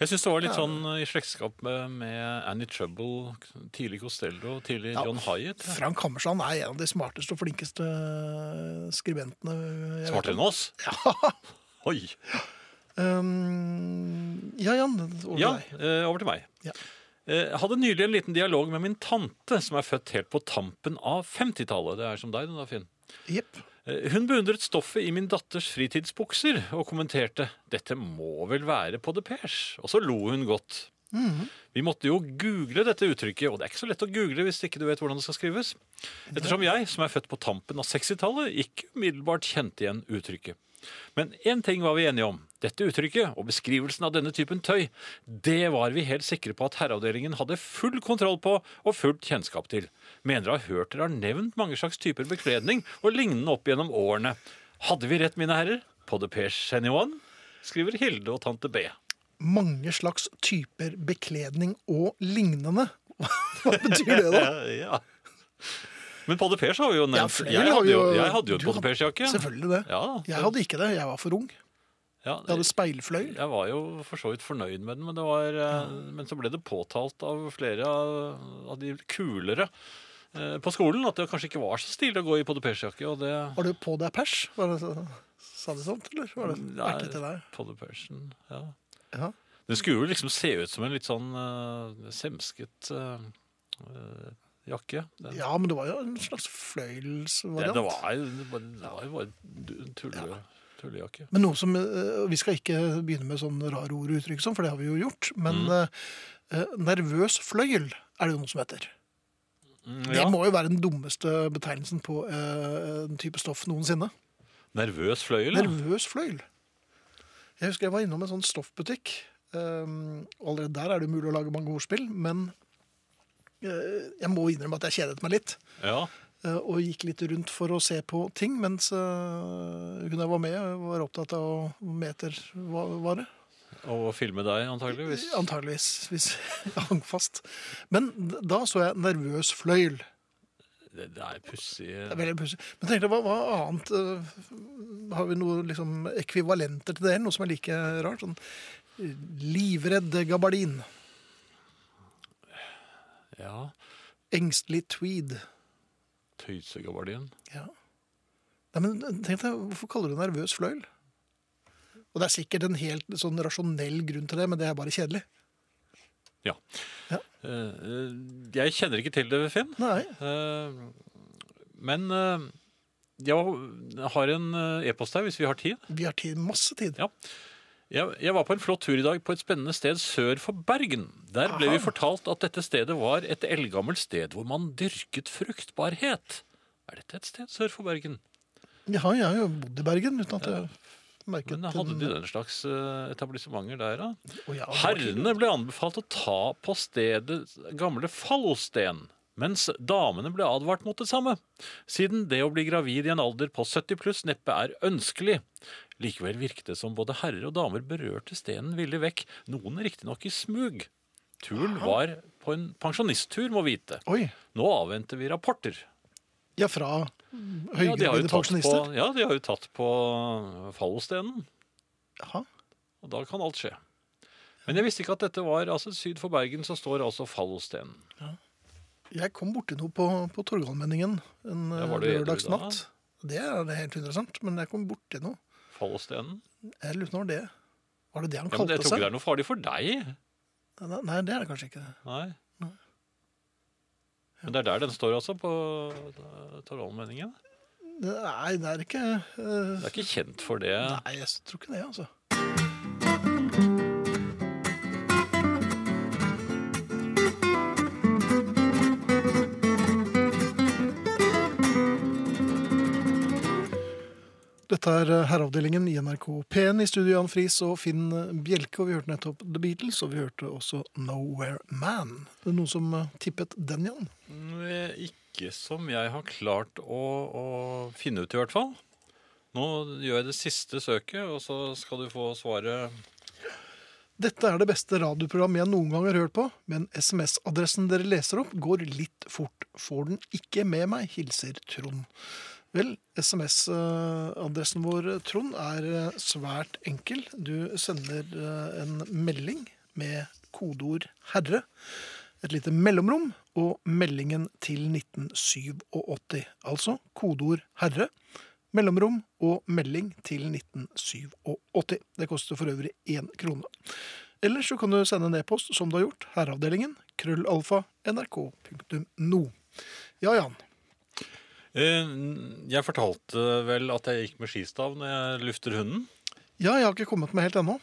B: Jeg syns det var
A: Ja.
B: litt sånn eh, i slektskap med, med Annie Trouble, tidlig Costello, tidlig
A: Ja.
B: John Hyatt. ja.
A: Frank Hammersland er en av de smarteste og flinkeste eh, skribentene. jeg vet
B: Smartere
A: om.
B: enn oss?
A: Ja.
B: Oi!
A: Um, ja, Jan. Over
B: Ja,
A: til deg.
B: eh, over til meg.
A: Ja.
B: Eh, hadde nylig en liten dialog med min tante, som er født helt på tampen av 50-tallet. Det er som deg, du da, Finn.
A: Jepp.
B: Eh, Hun beundret stoffet i min datters fritidsbukser og kommenterte 'dette må vel være på de pers', og så lo hun godt. Vi måtte jo google dette uttrykket, og det er ikke så lett å google hvis ikke du vet hvordan det skal skrives. Ettersom jeg, som er født på tampen av 60-tallet, ikke umiddelbart kjente igjen uttrykket. Men én ting var vi enige om. Dette uttrykket og beskrivelsen av denne typen tøy, det var vi helt sikre på at Herreavdelingen hadde full kontroll på og fullt kjennskap til. Mener å ha hørt dere har nevnt mange slags typer bekledning og lignende opp gjennom årene. Hadde vi rett, mine herrer? På the pers anyone? Skriver Hilde og tante B.
A: mange slags typer bekledning og lignende. Hva betyr det, da?
B: ja. Men på the pers har vi jo nevnt.
A: Ja, flere
B: jeg,
A: har
B: hadde
A: vi
B: jo,
A: jo-
B: jeg hadde jo en
A: Du
B: på the
A: hadde-
B: pers-jakke.
A: Selvfølgelig det.
B: Ja,
A: Jeg hadde ikke det, jeg var for ung.
B: ja,
A: Jeg hadde speilfløyel.
B: Jeg var jo for så vidt fornøyd med den, men, det var, eh, men så ble det påtalt av flere av, av de kulere eh, på skolen at det kanskje ikke var så stilig å gå i podepers-jakke. Og det
A: Var du på deg pers? Var det, så- sa de sånt, eller var det
B: Nei.
A: merket til deg?
B: podepersen, ja.
A: Ja.
B: Den skulle jo liksom se ut som en litt sånn eh, semsket eh, eh, jakke. Den,
A: ja, men det var jo en slags
B: det, det
A: fløyelsvariant.
B: var jo det var, det var jo bare en tulle, tullejakke.
A: Men noe som, eh, Vi skal ikke begynne med sånn rare ord og uttrykk, sånn, for det har vi jo gjort. Men
B: Mm.
A: eh, eh, nervøs fløyel er det jo noe som heter.
B: Mm,
A: Det
B: ja.
A: må jo være den dummeste betegnelsen på eh, en type stoff noensinne.
B: Nervøs fløyel, ja.
A: Nervøs fløyel. Jeg husker jeg var innom en sånn stoffbutikk. ehm, og allerede der er det mulig å lage mange ordspill, men eh, jeg må innrømme at jeg kjedet meg litt.
B: ja.
A: eh, og gikk litt rundt for å se på ting, mens eh, hun jeg var med, var opptatt av metervare.
B: Og filme deg, antageligvis.
A: Antageligvis, hvis jeg hang fast. Men d- da så jeg nervøs fløyel.
B: Det, det er pussig.
A: Det er veldig pussig. Men tenkte, hva, hva annet eh, Har vi noe liksom, ekvivalenter til det? Noe som er like rart? Sånn eh, livredd gabardin.
B: Ja.
A: Engstelig tweed.
B: Tøysegabardien.
A: Ja. Nei, men eh, tenk deg, Hvorfor kaller du det nervøs fløyel? Og Det er sikkert en helt sånn rasjonell grunn til det, men det er bare kjedelig.
B: Ja.
A: Ja.
B: Eh, eh, Jeg kjenner ikke til det, Finn.
A: Nei,
B: Eh, Men eh, jeg har en eh, e-post her, hvis vi har tid.
A: Vi har tid, masse tid.
B: Ja. Jeg, jeg var på en flott tur i dag på et spennende sted sør for Bergen. Der ble
A: Aha.
B: vi fortalt at dette stedet var et eldgammelt sted hvor man dyrket fruktbarhet. Er dette et sted sør for Bergen?
A: Jeg har, jeg har jo bodd i Bergen uten at jeg merket
B: Men hadde de den slags eh, etablissementer der, da?
A: Å, ja, det var
B: Herrene ble anbefalt å ta på stedet gamle fallsten, mens damene ble advart mot det samme, siden det å bli gravid i en alder på 70 pluss neppe er ønskelig. Likevel virket det som både herrer og damer berørte stenen ville vekk, noen riktignok i smug. Turen var på en pensjonisttur, må vite.
A: Oi.
B: Nå avventer vi rapporter.
A: Ja, fra
B: Ja, de har jo
A: høygravide
B: tatt på,
A: pensjonister.
B: ja, de har jo tatt på fallstenen,
A: Jaha.
B: og da kan alt skje. Men jeg visste ikke at dette var altså Syd for Bergen så står altså Fallostenen.
A: Jeg kom borti noe på, på Torgallmenningen en
B: Ja,
A: eh,
B: var du edru da?
A: lørdagsnatt. Det er helt interessant, men jeg kom borti noe.
B: Fallostenen?
A: Jeg lurer på når det Var det det han
B: Ja, men
A: kalte
B: jeg tror ikke
A: seg?
B: det er noe farlig for deg.
A: Nei, Nei, det er det kanskje ikke.
B: Nei. Men det er der den står altså, på eh, Torgallmenningen.
A: Nei, det er ikke eh,
B: Det er ikke kjent for det.
A: Nei, jeg tror ikke det, altså. Dette er eh, Herreavdelingen i NRK P1 i studio Jan Friis og Finn Bjelke. Og vi hørte nettopp The Beatles, og vi hørte også Nowhere Man. Det er noen som eh, tippet den, Jan.
B: Mm, Ikke som jeg har klart å, å finne ut, i hvert fall. Nå gjør jeg det siste søket, og så skal du få svaret.
A: Dette er det beste radioprogrammet jeg noen gang har hørt på, men SMS-adressen dere leser opp, går litt fort. Får den ikke med meg, hilser Trond. Vel, SMS-adressen vår, Trond, er eh, svært enkel. Du sender eh, en melding med kodeord 'herre', et lite mellomrom, og meldingen til 1987. Altså kodeord 'herre'. Mellomrom og melding til 1987. Det koster for øvrig én krone. Eller så kan du sende en e-post, som du har gjort, herreavdelingen, krøllalfa, nrk.no. Ja, Jan.
B: Eh, Jeg fortalte vel at jeg gikk med skistav når jeg lufter hunden.
A: Ja, jeg har ikke kommet meg helt ennå.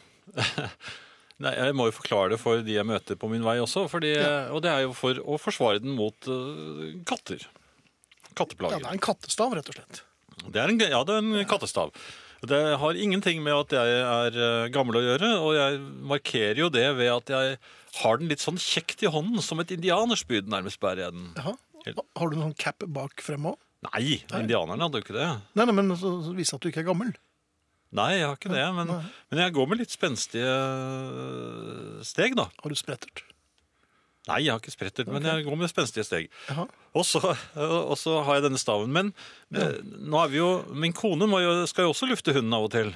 B: Nei, Jeg må jo forklare det for de jeg møter på min vei også. Fordi, Og det er jo for å forsvare den mot eh, katter.
A: Ja,
B: Katteplager.
A: det er en kattestav, rett og slett.
B: Det er en, ja, det er en kattestav. Det har ingenting med at jeg er eh, gammel å gjøre, og jeg markerer jo det ved at jeg har den litt sånn kjekt i hånden, som et indianerspyd nærmest bærer jeg den.
A: Jaha. Har du noen sånn cap bak frem òg?
B: Nei, indianerne hadde jo ikke det.
A: Nei, nei, men så så vise at du ikke er gammel.
B: Nei, jeg har ikke det, men,
A: Nei.
B: men jeg går med litt spenstige eh, steg, da.
A: Har du sprettert?
B: Nei, jeg har ikke sprettert, men jeg går med spenstige steg.
A: Jaha.
B: Og så, og så har jeg denne staven. Men eh, nå er vi jo, min kone må jo, skal jo også lufte hunden av og til.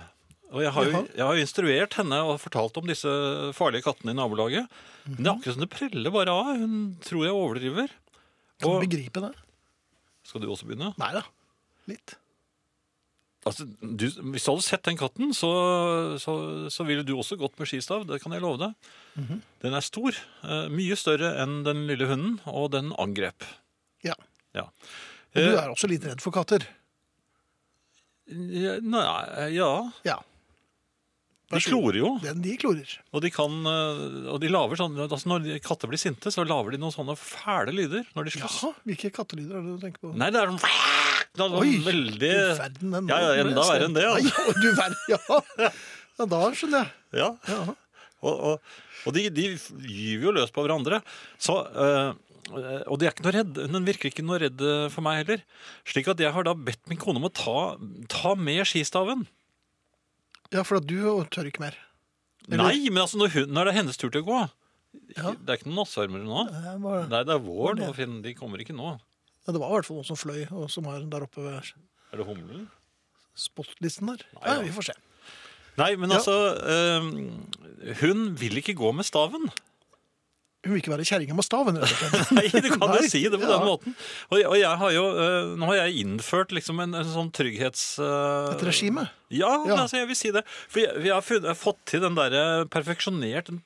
B: Og jeg har, jo,
A: Jaha.
B: jeg har jo instruert henne og fortalt om disse farlige kattene i nabolaget. Men
A: Mhm.
B: det er akkurat som det preller bare av. Hun tror jeg overdriver.
A: Kan
B: Og-
A: du begripe det?
B: Skal du også begynne?
A: Nei da. Litt.
B: Altså, du, hvis du hadde sett den katten, så, så, så ville du også gått med skistav. Det kan jeg love deg.
A: Mhm.
B: Den er stor. eh, Mye større enn den lille hunden, og den angrep.
A: Ja.
B: Ja.
A: Og du
B: Eh,
A: er også litt redd for katter.
B: ja, Nei, ja.
A: Ja.
B: De klorer jo.
A: Den de klorer.
B: Og de kan eh, Og de laver sånn altså Når de- katter blir sinte, så laver de noen sånne fæle lyder når de slåss.
A: Jaha, hvilke kattelyder er det du tenker på?
B: Nei, det er sånn det er sånn
A: Oi, du
B: veldig
A: verden, den
B: Ja, ja,
A: ble
B: enda verre enn det,
A: sendt.
B: altså.
A: Nei, du verden, ja. ja, da skjønner jeg.
B: Ja.
A: Ja.
B: Og, og, og de, de gyver jo løs på hverandre. Så eh, eh, Og de er ikke noe redd, den virker ikke noe redd eh, for meg heller. Slik at jeg har da bedt min kone om å ta, ta med skistaven.
A: Ja, for at du tør ikke mer. Eller-
B: Nei, men altså når, hun, når det er hennes tur til å gå
A: Ja.
B: Det er ikke noen nattsvermere nå.
A: Eh, Det var,
B: Nei, det er vår nå, Finn. De kommer ikke nå.
A: ja, det var i hvert fall noen som fløy, og som er der oppe ved
B: Er det humlen?
A: spotlisten der.
B: Nei,
A: ja.
B: ja.
A: vi får se.
B: Nei, men
A: Ja.
B: altså eh, Hun vil ikke gå med staven.
A: Hun vil ikke være kjerringa med staven, rett og slett.
B: Nei, du kan
A: Nei.
B: jo si det på
A: Ja.
B: den måten. Og, jeg- og jeg har jo eh, Nå har jeg innført liksom en, en sånn trygghets... eh,
A: Et regime.
B: Ja,
A: Ja.
B: men altså, jeg vil si det. For jeg, jeg, har funnet, jeg har fått til den der eh, perfeksjonert den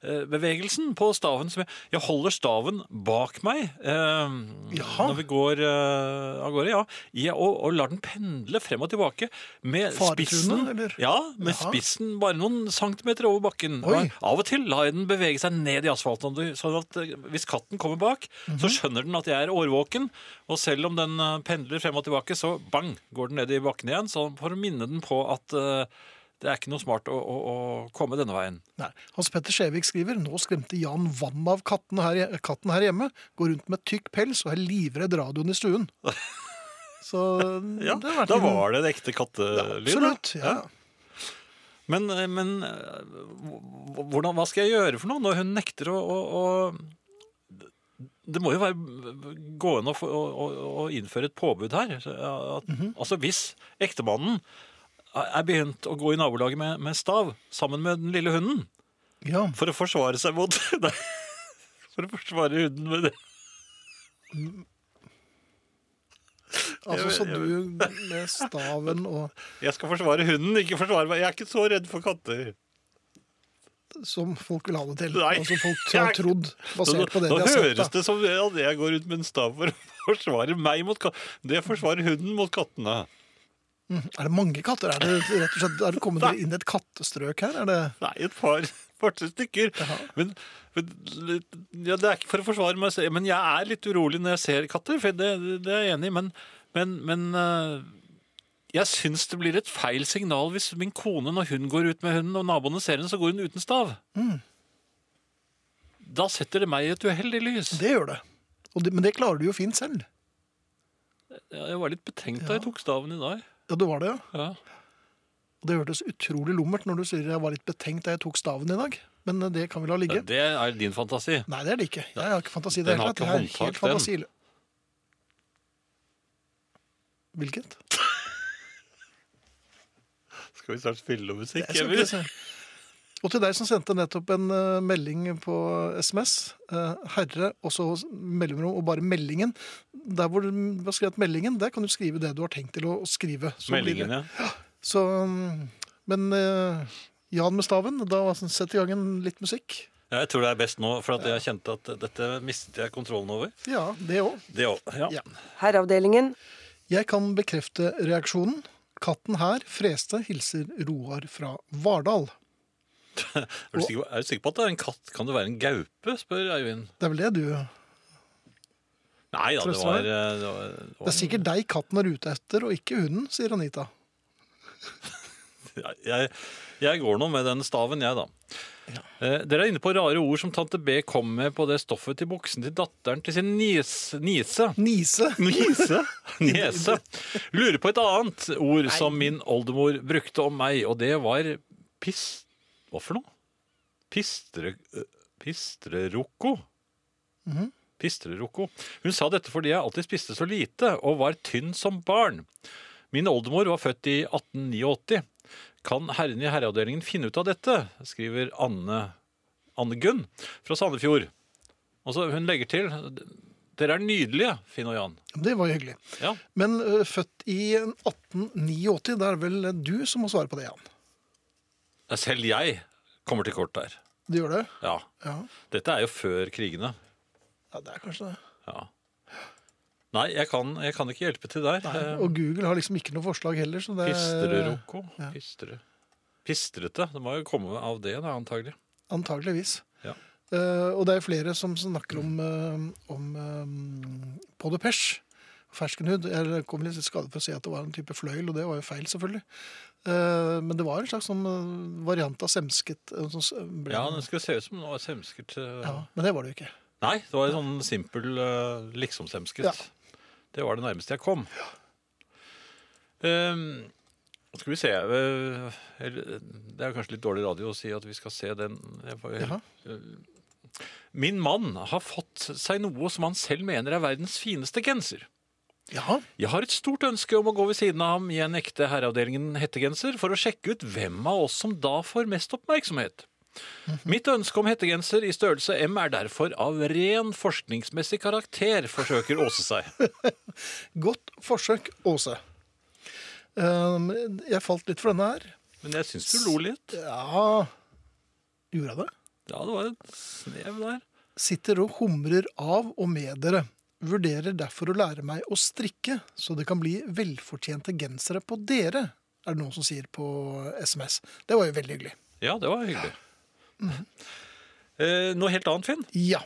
B: pendelbevegelsen på staven. Som jeg, jeg holder staven bak meg eh,
A: Jaha.
B: når vi går eh, av gårde, ja. Jeg, og, og lar den pendle frem og tilbake med
A: Faretruende,
B: spissen.
A: eller?
B: Ja, med
A: Jaha.
B: spissen bare noen centimeter over bakken.
A: Oi.
B: Og Av og til lar jeg den bevege seg ned i asfalten. Sånn at eh, hvis katten kommer bak, så skjønner den at jeg er årvåken. Og selv om den eh, pendler frem og tilbake, så bang, går den ned i bakken igjen. Så for å minne den på at eh, det er ikke noe smart å, å, å komme denne veien.
A: Nei. Hans Petter Skjevik skriver nå skremte Jan vann av katten her, katten her hjemme. Går rundt med tykk pels og er livredd radioen i stuen. Så
B: Ja,
A: det har vært
B: Da
A: en-
B: var det en ekte kattelyd. da.
A: Absolutt. Ja.
B: Men, eh, men eh, hv- hvordan, hva skal jeg gjøre for noe når hun nekter å, å, å det må jo være gående å, få- å, å- å innføre et påbud her. Så, ja, At, Altså Hvis ektemannen er begynt å gå i nabolaget med, med stav sammen med den lille hunden,
A: Ja,
B: for å forsvare seg mot Nei, for å forsvare hunden med det.
A: altså så
B: Jeg- jeg-
A: du med staven og
B: Jeg skal forsvare hunden, ikke forsvare meg. Jeg er ikke så redd for katter.
A: Som folk vil ha det til.
B: Nei.
A: Og som folk har trodd, basert på det
B: nå
A: de har sett.
B: høres
A: da.
B: det som at jeg går rundt med en stav for å forsvare meg mot kattene. Det forsvarer hunden mot kattene.
A: Er det mange katter? Er det rett og slett, er det kommet inn i et kattestrøk her? Er det...
B: Nei, et par, par tre stykker. Men, men litt- ja, det er ikke for å forsvare meg selv, men jeg er litt urolig når jeg ser katter. For det, det er jeg enig i. Men, men, men eh, jeg syns det blir et feil signal hvis min kone, når hun går ut med hunden, og naboene ser henne, så går hun uten stav.
A: Mm.
B: Da setter det meg i et uheldig lys.
A: Det gjør det. Og det. Men det klarer du jo fint selv.
B: Ja, Jeg var litt betenkt da jeg tok staven i dag.
A: Ja, du var det, ja.
B: Ja.
A: Og det hørtes utrolig lummert når du sier jeg var litt betenkt da jeg tok staven i dag. Men eh, det kan vi la ligge.
B: Det er din fantasi.
A: Nei, det er det ikke. Jeg har ikke fantasi. i Det
B: Den har
A: hele tatt.
B: ikke
A: Jeg er
B: håndtak,
A: helt
B: den.
A: fantasiløs. Hvilket?
B: Skal vi snart spille noe musikk?
A: Jeg skal ikke se. Og til deg som sendte nettopp en eh, melding på SMS, eh, herre, og så mellomrom, og bare meldingen. Der hvor du har skrevet meldingen, der kan du skrive det du har tenkt til å, å skrive. Så blir det-
B: Meldingen, ja.
A: Så, mm, men eh, Jan med staven, da var sånn, sett i gang en litt musikk.
B: ja. Jeg tror det er best nå, for at jeg kjente at dette mistet jeg kontrollen over.
A: Ja, det òg.
B: Det òg. Ja.
A: Ja.
F: Herreavdelingen.
A: Jeg kan bekrefte reaksjonen. Katten her freste, hilser Roar fra Vardal.
B: Er, du sikker, på- er du sikker på at det er en katt? Kan det være en gaupe? spør Eivind.
A: Det er vel det du
B: Nei da, det
A: Trøster
B: var,
A: meg.
B: eh, det var, det
A: Det
B: var
A: er sikkert deg katten er ute etter, og ikke hunden, sier Anita.
B: jeg, jeg går nå med den staven, jeg, da. Eh, Dere er inne på rare ord som tante B kom med på det stoffet til buksen til datteren til sin nies, niese.
A: Nise.
B: Niese? Niese. Lurer på et annet ord som min oldemor brukte om meg, og det var pis... Hva for noe? Pistre... øh, Pistreroko. Pistreroko. Hun sa dette fordi jeg alltid spiste så lite og var tynn som barn. Min oldemor var født i 1889. Kan herrene i herreavdelingen finne ut av dette? skriver Anne, Anne Gunn fra Sandefjord. Og så hun legger til Dere er nydelige, Finn og Jan.
A: Det var jo hyggelig.
B: Ja.
A: Men ø, født i 1889, det er vel du som må svare på det, Jan.
B: Selv jeg kommer til kort der.
A: Du gjør det?
B: Ja.
A: Ja.
B: Dette er jo før krigene.
A: ja det er kanskje det.
B: Ja. Nei, jeg kan, jeg kan ikke hjelpe til der. Eh,
A: Nei. Eh, Og Google har liksom ikke noe forslag heller, så det
B: Pistreroko. Pistre. Pistrete. Det må jo komme av det, da, antagelig.
A: Antageligvis.
B: Ja.
A: Eh, og det er flere som snakker om, eh, om eh, Pot de Perche. Ferskenhud. Jeg kom litt i skade for å si at det var en type fløyel, og det var jo feil, selvfølgelig. Eh, men det var en slags sånn eh, variant av semsket. eh, som s- ble,
B: Ja, den skulle se ut som noe semsket eh.
A: Ja, Men det var det jo ikke.
B: Nei, det var en sånn simpel eh, liksom-semsket.
A: Ja.
B: Det var det nærmeste jeg kom. Ehm, skal vi se eh, eller, Det er kanskje litt dårlig radio å si at vi skal se den. Jeg får,
A: Jaha.
B: Min mann har fått seg noe som han selv mener er verdens fineste genser.
A: Ja,
B: Jeg har et stort ønske om å gå ved siden av ham i en ekte Herreavdelingen hettegenser for å sjekke ut hvem av oss som da får mest oppmerksomhet. Mitt ønske om hettegenser i størrelse M er derfor av ren forskningsmessig karakter, forsøker Åse seg.
A: Godt forsøk, Åse. Eh, jeg falt litt for denne her.
B: Men jeg syns du lo litt.
A: Ja Gjorde jeg det?
B: Ja, det var et snev der.
A: Sitter og humrer av og med dere. Vurderer derfor å lære meg å strikke, så det kan bli velfortjente gensere på dere, er det noen som sier på SMS. Det var jo veldig hyggelig.
B: Ja, det var hyggelig. Eh, noe helt annet, Finn.
A: Ja.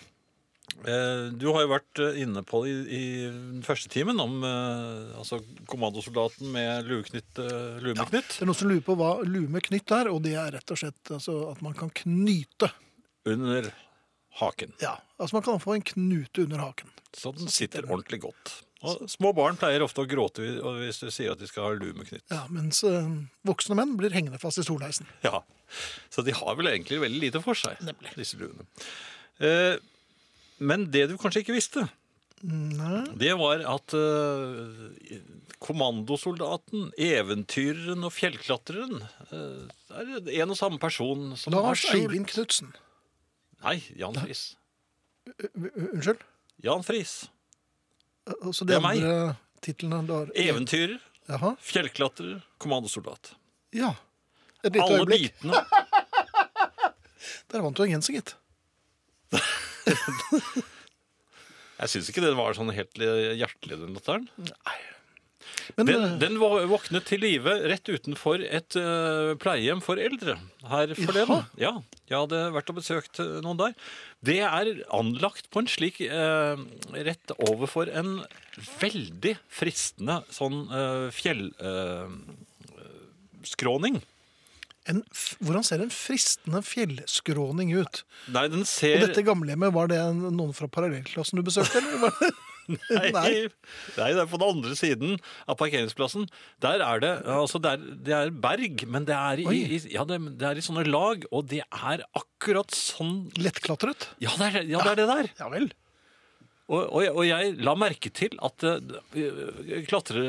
B: Eh, Du har jo vært eh, inne på det i, i den første timen om eh, altså kommandosoldaten med lueknytt, eh,
A: Det
B: luemeknytt.
A: er noen som lurer på hva lue med knytt er, og det er rett og slett altså, at man kan knyte.
B: Under haken.
A: Ja, altså man kan få en knute under haken.
B: Så den
A: Sånn.
B: sitter ordentlig godt. Og små barn pleier ofte å gråte vi- og hvis du sier at de skal ha luemeknytt.
A: Ja, Mens eh, voksne menn blir hengende fast i stolheisen.
B: Ja. Så de har vel egentlig veldig lite for seg, disse luene. Eh, Men det du kanskje ikke visste,
A: Nei.
B: Det var at eh, kommandosoldaten, eventyreren og fjellklatreren eh, er en og samme person som
A: Lars
B: har skjult-
A: Eivind Knutsen.
B: Nei, Jan Friis.
A: Unnskyld?
B: Jan Friis.
A: Altså
B: Det
A: de
B: er meg.
A: andre titlene du har.
B: Eventyrer,
A: Jaha.
B: fjellklatrer, kommandosoldat.
A: Ja. Et lite
B: Alle
A: øyeblikk.
B: bitene.
A: Der vant du en genser, gitt.
B: Jeg syns ikke den var sånn helt hjertelig, den latteren.
A: Men
B: Den,
A: eh,
B: den vå- våknet til live rett utenfor et eh, pleiehjem for eldre her forleden. Ja, jeg hadde vært og besøkt eh, noen der. Det er anlagt på en slik eh, rett overfor en veldig fristende sånn fjellskråning.
A: en, f- hvordan ser en fristende fjellskråning ut?
B: Nei, den
A: Og
B: ser
A: dette gamlehjemmet, var det en- noen fra parallellklassen du besøkte, eller? Var det?
B: Nei. Nei, det er på den andre siden av parkeringsplassen. Der er det altså det er, det er berg, men det er, i, i, ja, det, det er i sånne lag, og det er akkurat sånn
A: Lettklatret?
B: Ja, det er, ja, det, er det der.
A: Ja vel.
B: Og, og, jeg- og jeg la merke til at eh, klatre,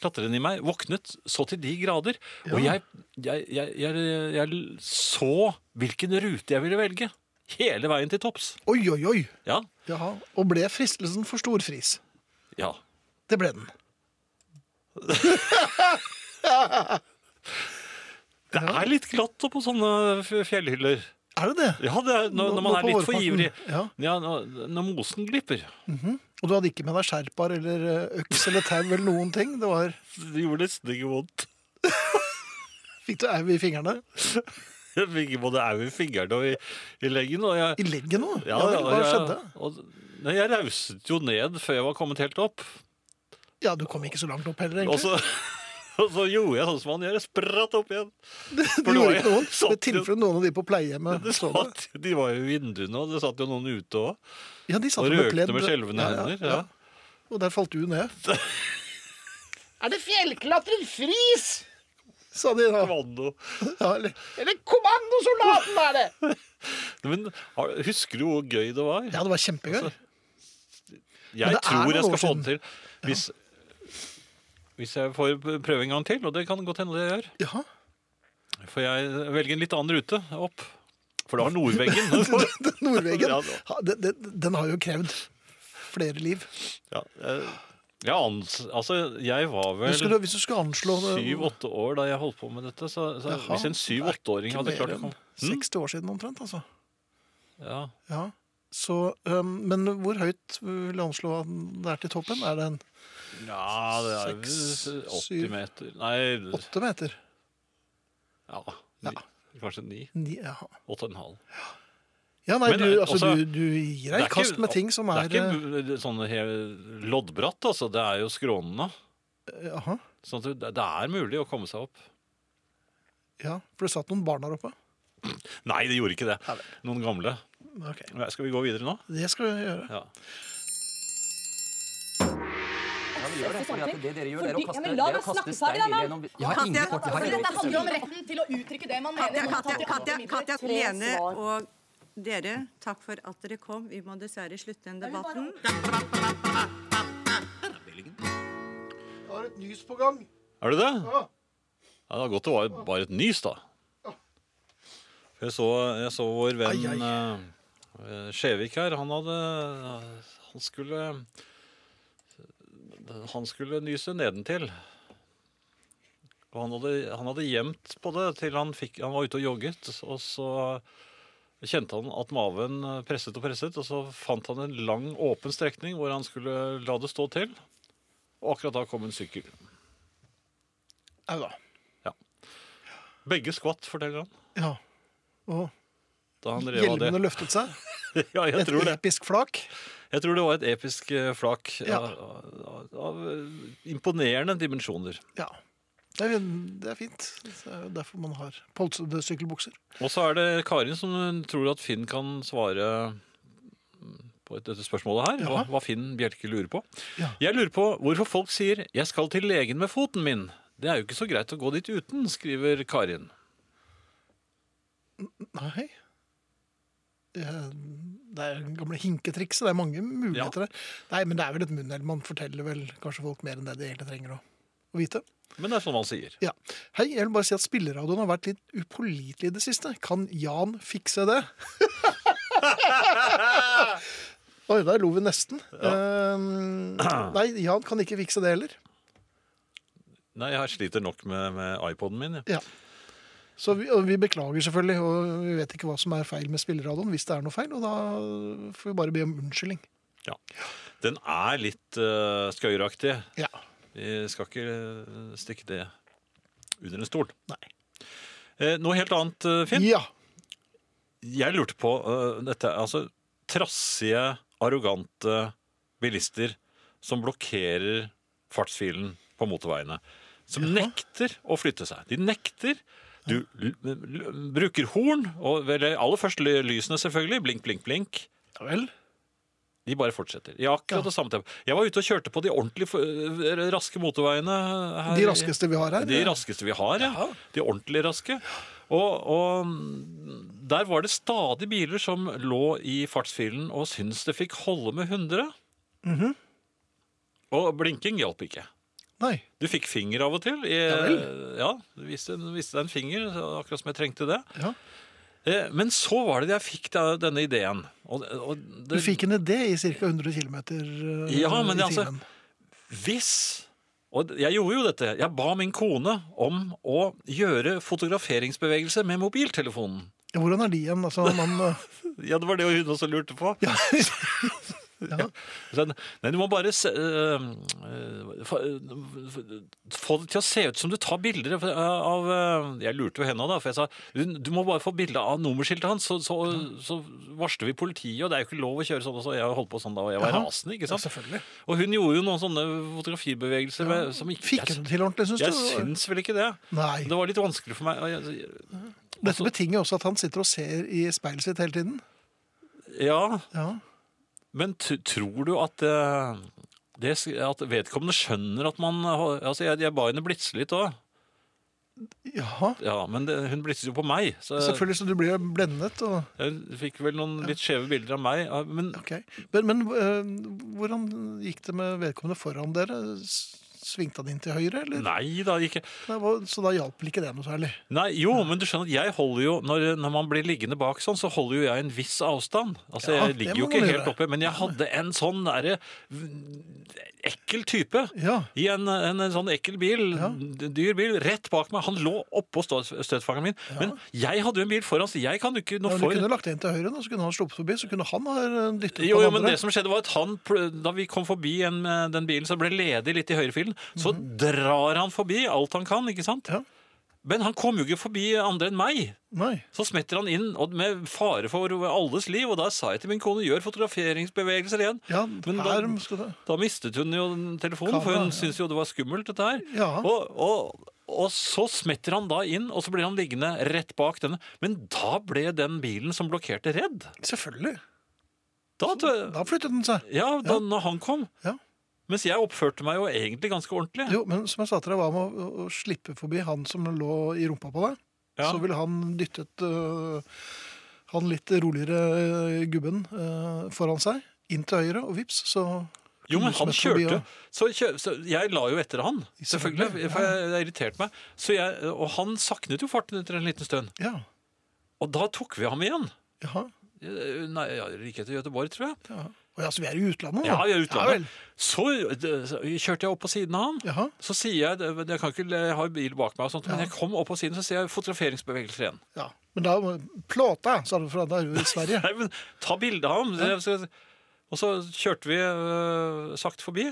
B: klatreren i meg våknet så til de grader. Og
A: Ja.
B: jeg, jeg, jeg, jeg, jeg så hvilken rute jeg ville velge. Hele veien til topps.
A: Oi, oi, oi.
B: Ja.
A: Jaha. Og ble fristelsen for stor fris?
B: ja.
A: Det ble den.
B: Det er litt glatt oppå sånne f- fjellhyller.
A: Er det det?
B: Ja, det er, når,
A: Nå-
B: når man
A: nå
B: er
A: på
B: litt for
A: vårparten.
B: ivrig.
A: Ja.
B: Ja, når, når mosen glipper.
A: Og du hadde ikke med deg skjerpar eller eh, øks eller tau eller noen ting? Det var
B: Det gjorde nesten ikke vondt.
A: Fikk du au i fingrene?
B: Jeg fikk både au i fingrene og i, i leggen. Og jeg,
A: I leggen nå? Ja,
B: ja,
A: vel, hva
B: og jeg-
A: skjedde?
B: Og, nei, jeg rauset jo ned før jeg var kommet helt opp.
A: Ja, du kom ikke så langt opp heller,
B: Og
A: egentlig.
B: så, og så gjorde jeg sånn som man gjør. Jeg spratt opp igjen.
A: Det
B: for det var
A: gjorde
B: jo-
A: ikke noe vondt. I
B: satt jo-
A: tilfelle noen av de på pleiehjemmet
B: Det
A: så det.
B: satt, de var jo i vinduene, og det satt jo noen ute òg.
A: Ja, de satt
B: Og
A: jo med
B: røkte
A: pledd.
B: med skjelvende
A: Ja, ja,
B: hender.
A: ja.
B: Ja.
A: Og der falt du ned,
F: Er det fjellklatrer Friis?
A: sa de da.
B: Kommando.
A: Ja, eller-
F: Eller kommandosoldaten er det?
B: Men har- husker du hvor gøy det var?
A: ja, det var kjempegøy.
B: Altså.
A: Men
B: Jeg
A: det er
B: tror jeg
A: noen
B: skal
A: år
B: få
A: siden.
B: det til. Hvis, hvis jeg får prøve en gang til, og det kan godt hende det jeg gjør.
A: Ja.
B: For jeg velger en litt annen rute opp. For da har Nordveggen
A: Den Nordveggen,
B: Ja,
A: ha, den, den, den har jo krevd flere liv.
B: ja, eh, jeg, ans, altså, jeg var
A: Husker
B: vel
A: du, hvis du skulle anslå det-
B: syv-åtte år da jeg holdt på med dette. Så, så
A: Jaha,
B: hvis en syv-åtteåring
A: ikke
B: hadde
A: mer
B: klart å
A: enn
B: komme Hm?
A: 60 år siden omtrent, altså.
B: ja.
A: Ja. Så, øhm, men hvor høyt vil du anslå at det er til toppen? Er det en
B: ja, det er
A: Seks,
B: vel 80
A: syv,
B: meter Nei,
A: åtte meter?
B: ja, ni, kanskje ni.
A: Ni, jaha.
B: Åtte og en halv.
A: Ja, nei,
B: Men, eh,
A: du, altså,
B: også-
A: du, du gir deg i kast med ting som er, eh,
B: Det er ikke sånn he- loddbratt, altså. Det er jo skrånende.
A: eh, Jaha.
B: Sånn at det- det er mulig å komme seg opp.
A: Ja, for det satt noen barn der oppe.
B: Nei, det gjorde ikke det.
A: Nei vel.
B: Noen gamle.
A: Ok,
B: Men Skal vi gå videre nå?
A: Det skal vi gjøre.
B: Ja.
G: Ja, vi gjør det, fordi at det dere gjør, det er å
H: Fordi-
G: kaste,
H: ja, men
G: det
H: la
G: er å
H: meg
G: kaste
H: snakke
G: stein
H: ferdig, da, mann.
G: gjennom Jeg har ingen kort, jeg har ingen
H: Dette
G: kort.
H: handler om retten til å uttrykke det man mener.
I: Katja,
H: Man
I: Katja,
H: tar til
I: Katja,
H: alle
I: Katja
H: midler.
I: Lene
H: Tre svar.
I: og dere, takk for at dere kom. Vi må dessverre slutte den debatten.
A: Jeg har et nys på gang.
B: Er det det? Ja. Det var godt det var bare et nys, da. For jeg så, jeg så vår venn
A: Ai,
B: eh, eh, Skjevik her. Han hadde Han skulle Han skulle nyse nedentil. Og han hadde, han hadde gjemt på det til han, fikk, han var ute og jogget. Og så kjente han at maven presset og presset, og så fant han en lang, åpen strekning hvor han skulle la det stå til. Og akkurat da kom en sykkel.
A: Au da.
B: Begge skvatt, forteller han.
A: Ja. Og
B: Da han rev av det.
A: hjelmene løftet seg.
B: Ja, jeg
A: Et
B: tror det.
A: episk flak.
B: Jeg tror det var et episk eh, flak
A: Ja.
B: av, av, av eh, imponerende dimensjoner.
A: Ja. Det er, det er fint. Det er jo derfor man har polstrede sykkelbukser.
B: Og så er det Karin som eh, tror at Finn kan svare mm, på et- dette spørsmålet her. Hva,
A: Jaha.
B: hva Finn Bjelke lurer på.
A: Ja.
B: Jeg lurer på hvorfor folk sier 'jeg skal til legen med foten min'. Det er jo ikke så greit å gå dit uten, skriver Karin.
A: Nei. Jeg det er gamle hinketrikset. Det er mange muligheter der. Nei, men det er vel et munnhell. Man forteller vel kanskje folk mer enn det de egentlig trenger å, å vite.
B: Men det er sånn man sier.
A: Ja. Hei, jeg vil bare si at spilleradioen har vært litt upålitelig i det siste. Kan Jan fikse det? Oi, der lo vi nesten. Ehm, nei, Jan kan ikke fikse det heller.
B: Nei, jeg sliter nok med, med iPoden min. Ja.
A: Ja. Så vi, og vi beklager selvfølgelig, og vi vet ikke hva som er feil med spilleradioen, hvis det er noe feil, og da får vi bare be om unnskyldning.
B: Den er litt uh, skøyeraktig.
A: Ja.
B: Vi skal ikke eh, stikke det under en stol.
A: Nei.
B: Eh, noe helt annet, eh, Finn.
A: Ja.
B: Jeg lurte på eh, dette. Altså, trassige, arrogante bilister som blokkerer fartsfilen på motorveiene. Som nekter å flytte seg. De nekter. Du l l bruker horn, og eller aller først ly- lysene selvfølgelig. Blink, blink, blink.
A: ja vel.
B: De bare fortsetter. I akkurat
A: Ja.
B: det samme tempo. Jeg var ute og kjørte på de ordentlig f- eh, raske motorveiene. Her.
A: De raskeste vi har her.
B: De raskeste vi har, ja. De ordentlig raske. Og, og der var det stadig biler som lå i fartsfilen og syntes det fikk holde med 100.
A: Mhm.
B: Og blinking hjalp ikke.
A: Nei.
B: Du fikk finger av og til. I, ja, du viste, viste deg en finger, så akkurat som jeg trengte det.
A: Ja.
B: Eh, Men så var det jeg fikk da, denne ideen. Og, og
A: Du
B: det,
A: fikk en idé i ca. 100 km eh,
B: Ja, men det er altså- Hvis Og jeg gjorde jo dette. Jeg ba min kone om å gjøre fotograferingsbevegelser med mobiltelefonen.
A: Ja, Hvordan er de igjen? Altså, man, eh,
B: Ja, det var det hun også lurte på.
A: ja.
B: Så jeg, Nei, du må bare se, øh, øh, fa- øh, få det til å se ut som du tar bilder av- av øh, Jeg lurte jo henne da, for jeg sa du, du må bare få bilde av nummerskiltet hans, så, så, så varsler vi politiet. Og det er jo ikke lov å kjøre sånn. Og så jeg holdt på sånn da, og jeg var
A: Jaha.
B: rasende. ikke
A: ja,
B: sant?
A: selvfølgelig.
B: Og hun gjorde jo noen sånne fotografibevegelser med, som ikke
A: Fikk du
B: jeg,
A: det til ordentlig, syns du?
B: jeg syns vel ikke det.
A: Nei.
B: Det var litt vanskelig for meg. og jeg- altså,
A: Dette betinger jo også at han sitter og ser i speilet sitt hele tiden.
B: Ja,
A: Ja.
B: Men t tror du at, eh, det, s- at vedkommende skjønner at man har- altså Jeg, jeg ba henne blitse litt òg,
A: Jaha.
B: ja, men det, hun blitset jo på meg. Så jeg,
A: Selvfølgelig, så du blir jo blendet og
B: jeg fikk vel noen litt skjeve bilder av meg. ja, Men
A: Ok. Men, men eh, hvordan gikk det med vedkommende foran dere? S- Svingte han inn til høyre, eller?
B: nei da, ikke
A: Nei, hva- Så da hjalp vel ikke det noe særlig?
B: Nei, Jo, men du skjønner at jeg holder jo når, når man blir liggende bak sånn, så holder jo jeg en viss avstand. Altså,
A: Ja,
B: Jeg
A: det
B: ligger jo
A: må
B: ikke
A: man
B: helt
A: gjøre.
B: oppe, men jeg hadde en sånn derre ekkel type.
A: Ja.
B: I en, en, en sånn ekkel bil, d- dyr bil, rett bak meg. Han lå oppå stå- støtfangeren min. Men jeg hadde jo en bil foran, så jeg kan jo ikke noe
A: Men du
B: for
A: kunne lagt det inn til høyre, nå, så kunne han sluppet forbi. Så kunne han ha eh, dyttet
B: jo,
A: på
B: jo,
A: den
B: men
A: andre.
B: det som skjedde var at han, pl- Da vi kom forbi en, eh, den bilen som ble ledig litt i høyrefilen, så drar han forbi alt han kan. ikke sant?
A: Mhm. Ja.
B: Men han kom jo ikke forbi andre enn meg.
A: Nei.
B: Så smetter han inn og med fare for alles liv, og da sa jeg til min kone gjør fotograferingsbevegelser igjen.
A: Ja,
B: Men da-
A: her skal det
B: Da mistet hun jo den telefonen, for
A: Kamera,
B: hun
A: ja.
B: syntes jo det var skummelt, dette her.
A: Ja.
B: Og, og, og så smetter han da inn, og så blir han liggende rett bak denne. Men da ble den bilen som blokkerte, redd.
A: Selvfølgelig.
B: Da, tø-
A: Da flyttet den seg.
B: ja, da når han kom.
A: Ja.
B: Mens jeg oppførte meg jo egentlig ganske ordentlig.
A: Jo, men som jeg sa til deg, hva med å, å slippe forbi han som lå i rumpa på deg?
B: Ja.
A: Så ville han dyttet øh, han litt roligere øh, gubben øh, foran seg, inn til høyre, og vips, så
B: Jo, men han
A: smetter forbi,
B: kjørte.
A: og-
B: Så, kjø, så jeg la jo etter han,
A: Selvfølgelig,
B: selvfølgelig, for jeg, det irriterte meg. Så jeg, og han saknet jo farten etter en liten stund.
A: Ja.
B: Og da tok vi ham igjen.
A: Jaha.
B: Eh, Nei, jeg gikk etter Göteborg, tror jeg.
A: Ja. Og ja, så vi er i utlandet nå?
B: Ja, vi er i utlandet.
A: vel.
B: Så eh, kjørte jeg opp på siden av han.
A: Jaha.
B: Så sier jeg, det- men jeg kan ikke jeg har bil bak meg og sånt, men jeg kom opp på siden, så sier jeg fotograferingsbevegelser igjen.
A: Ja. Men da Plåta, sa du, for da er du i Sverige.
B: Nei, men ta bilde av ham. Jeg skal- Og så kjørte vi øh, sakte forbi,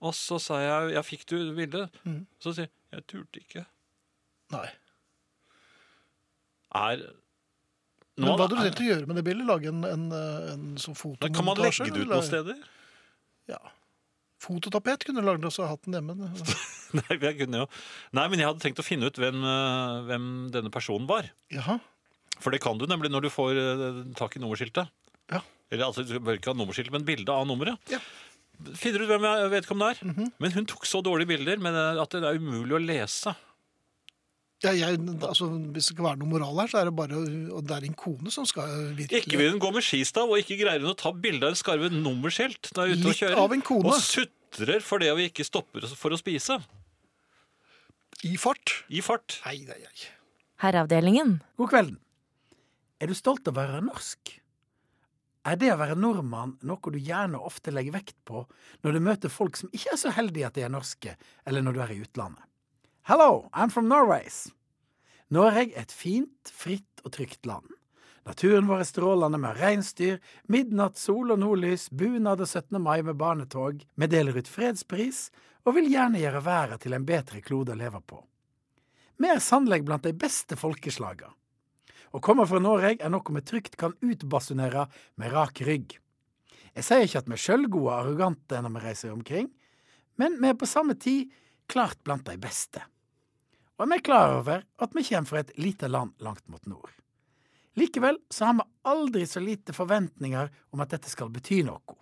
B: og så sa jeg, jeg fikk du bildet? Så sier jeg, jeg turte ikke.
A: Nei.
B: Er...
A: Men
B: Nå,
A: hva hadde du
B: er-
A: tenkt å gjøre med det bildet? Lage en, en, eh, en sånn
B: Nei,
A: fotomontasje?
B: Kan man legge det ut
A: eller?
B: noen steder?
A: Ja. Fototapet kunne du lagd også hatt den hjemme.
B: Nei, jeg kunne jo. Nei, men jeg hadde tenkt å finne ut hvem, øh, hvem denne personen var.
A: Jaha.
B: For det kan du nemlig når du får eh, tak i nummerskiltet.
A: Ja.
B: Eller altså, du bør ikke ha nummerskilt, men bilde av nummeret.
A: Ja.
B: Finner ut hvem Mhm. jeg vedkommende er. Men hun tok så dårlige bilder men eh, at det er umulig å lese.
A: Ja, jeg, altså, hvis det skal være noe moral her, så er det bare Og det er en kone som skal øh, virkelig
B: Ikke vil hun gå med skistav, og ikke greier hun å ta bilde av en skarve nummerskilt når hun er ute og
A: Litt
B: kjører.
A: av en kone.
B: Og sutrer for det vi ikke stopper oss for å spise.
A: I fart.
B: I fart.
A: Nei, nei, nei.
C: Herreavdelingen.
J: God kvelden. Er du stolt av å være norsk? Er det å være nordmann noe du gjerne og ofte legger vekt på når du møter folk som ikke er så heldige at de er norske, eller når du er i utlandet? Hello, I'm from Norways. Norge er et fint, fritt og trygt land. Naturen vår er strålende med reinsdyr, midnatt, sol og nordlys, bunad og 17. mai med barnetog. Vi deler ut fredspris, og vil gjerne gjøre verden til en bedre klode å leve på. Vi er sannelig blant de beste folkeslaga. Å komme fra Norge er noe vi trygt kan utbasunere med rak rygg. Jeg sier ikke at vi er sjølgode og arrogante når vi reiser omkring, men vi er på samme tid klart blant de beste. Og vi er klar over at vi kommer fra et lite land langt mot nord. Likevel så har vi aldri så lite forventninger om at dette skal bety noe.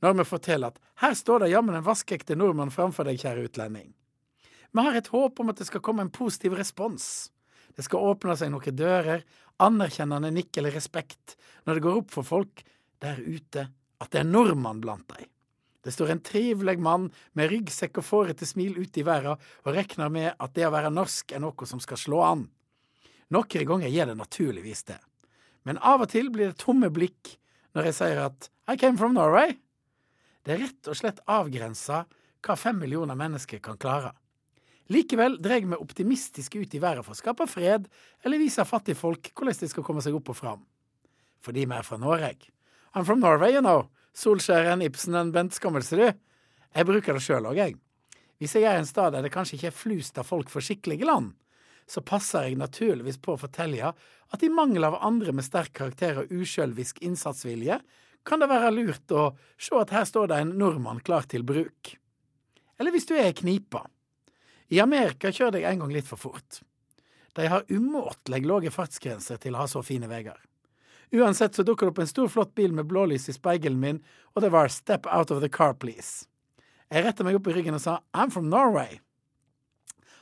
J: Når vi forteller at her står det jammen en vaskeekte nordmann framfor deg, kjære utlending. Vi har et håp om at det skal komme en positiv respons. Det skal åpne seg noen dører, anerkjennende nikk eller respekt, når det går opp for folk der ute at det er nordmann blant dem. Det står en trivelig mann med ryggsekk og fårete smil ute i verden og regner med at det å være norsk er noe som skal slå an. Noen ganger gjør det naturligvis det, men av og til blir det tomme blikk når jeg sier at I came from Norway. Det er rett og slett avgrensa hva fem millioner mennesker kan klare. Likevel dreg vi optimistiske ut i verden for å skape fred, eller vise fattige folk hvordan de skal komme seg opp og fram. Fordi vi er fra Norge. I'm from Norway, you know. Solskjæren, Ibsen og Bent Skammelsrud. Jeg bruker det sjøl òg, jeg. Hvis jeg er i en stad der det kanskje ikke er flust av folk fra skikkelige land, så passer jeg naturligvis på å fortelle at i mangel av andre med sterk karakter og usjølvisk innsatsvilje, kan det være lurt å se at her står det en nordmann klar til bruk. Eller hvis du er i knipa. I Amerika kjører jeg en gang litt for fort. De har umåtelig lave fartsgrenser til å ha så fine veier. Uansett så dukker det opp en stor, flott bil med blålys i speilet min, og det var 'step out of the car, please'. Jeg retta meg opp i ryggen og sa 'I'm from Norway'.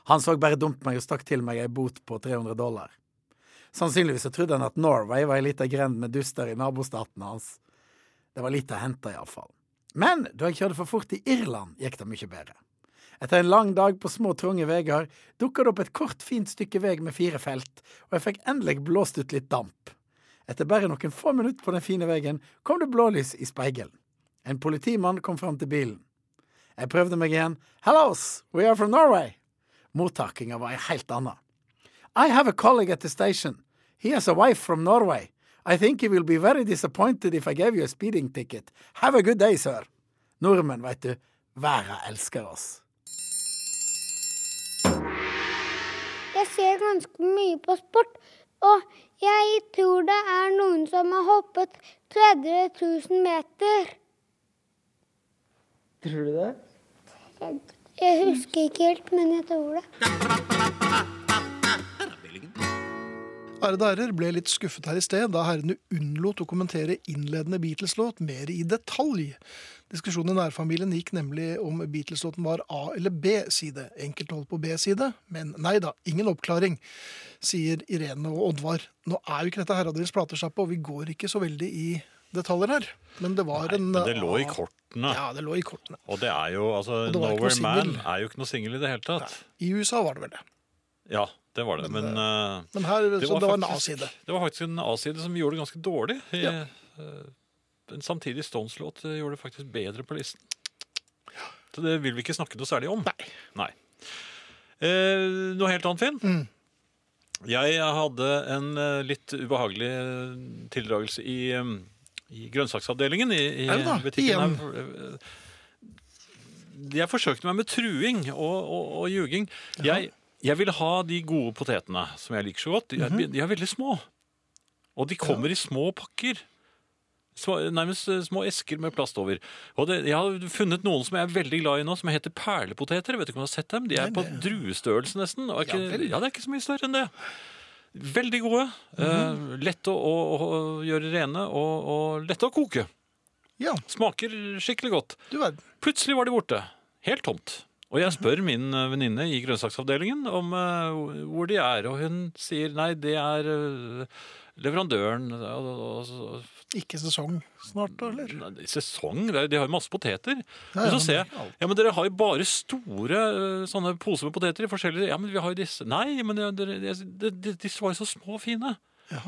J: Han så bare dumt meg og stakk til meg ei bot på 300 dollar. Sannsynligvis så trodde han at Norway var ei lita grend med duster i nabostaten hans. Det var litt å hente, iallfall. Men da jeg kjørte for fort i Irland, gikk det mye bedre. Etter en lang dag på små, trange veier dukka det opp et kort, fint stykke vei med fire felt, og jeg fikk endelig blåst ut litt damp. Etter bare noen få minutter på den fine veien kom det blålys i speilet. En politimann kom fram til bilen. Jeg prøvde meg igjen. Hellos, we are from Norway. Mottakinga var ei helt anna. I have a colleague at the station. He has a wife from Norway. I think he will be very disappointed if I gave you a speeding ticket. Have a good day, sir. Nordmenn, veit du, verda elsker oss.
K: Jeg ser ganske mye på sport, og jeg tror det er noen som har hoppet 30 000 meter.
L: Tror du det?
K: Jeg, jeg husker ikke helt, men jeg tror det.
A: Ærede ærer ble litt skuffet her i sted da herrene unnlot å kommentere innledende Beatles-låt mer i detalj. Diskusjonen i nærfamilien gikk nemlig om Beatles-låten var A- eller B-side. Enkelte holdt på B-side, men nei da, ingen oppklaring, sier Irene og Oddvar. Nå er jo ikke dette herreavdelens platesjappe, og vi går ikke så veldig i detaljer her. Men det var en
B: Men det lå i kortene.
A: Ja, det lå i kortene.
B: Og det er jo altså,
A: Og det var ikke
B: Nowhere
A: noe
B: Man
A: singel.
B: er jo ikke noe singel i det hele tatt.
A: I USA var det vel det.
B: Ja, det var det. Men, eh,
A: Men her, så det var en
B: faktisk-
A: A-side.
B: Det var faktisk en A-side som gjorde det ganske dårlig. I,
A: Ja.
B: eh, en samtidig Stones-låt eh, gjorde det faktisk bedre på listen. Så det vil vi ikke snakke noe særlig om.
A: Nei.
B: Eh, noe helt annet, Finn.
A: Mm.
B: Jeg hadde en eh, litt ubehagelig eh, tildragelse i, eh, i grønnsaksavdelingen i, i
A: Er det da?
B: butikken.
A: Igjen?
B: Her. Jeg forsøkte meg med truing og, og, og ljuging. Jeg, jeg ville ha de gode potetene som jeg liker så godt.
A: Mhm.
B: De er, de er veldig små. Og de kommer i små pakker. Små, nærmest eh, små esker med plast over. Og det, jeg har funnet noen som jeg er veldig glad i nå, som heter perlepoteter. Vet du ikke om du har sett dem? De er på druestørrelse nesten. Og
A: Ja,
B: er ikke,
A: vel.
B: ja, det er ikke så mye større enn det. Veldig gode. eh,
A: Mhm.
B: lette å, å, å gjøre rene og, og lette å koke.
A: Ja,
B: Smaker skikkelig godt.
A: du verden.
B: Plutselig var de borte. Helt tomt. Og jeg
A: Mhm.
B: spør min eh, venninne i grønnsaksavdelingen om eh, hvor de er, og hun sier nei, det er eh, leverandøren. Og, og, og,
A: Ikke sesong snart, da, eller?
B: Nei, det er sesong? det er- De har jo masse poteter.
A: Ja, ja,
B: Men så ser jeg
A: men-
B: ja, men dere har jo bare store eh, sånne poser med poteter i forskjellige Ja, men vi har jo disse. Nei, men det- dere- jeg- de, de, disse var jo så små og fine.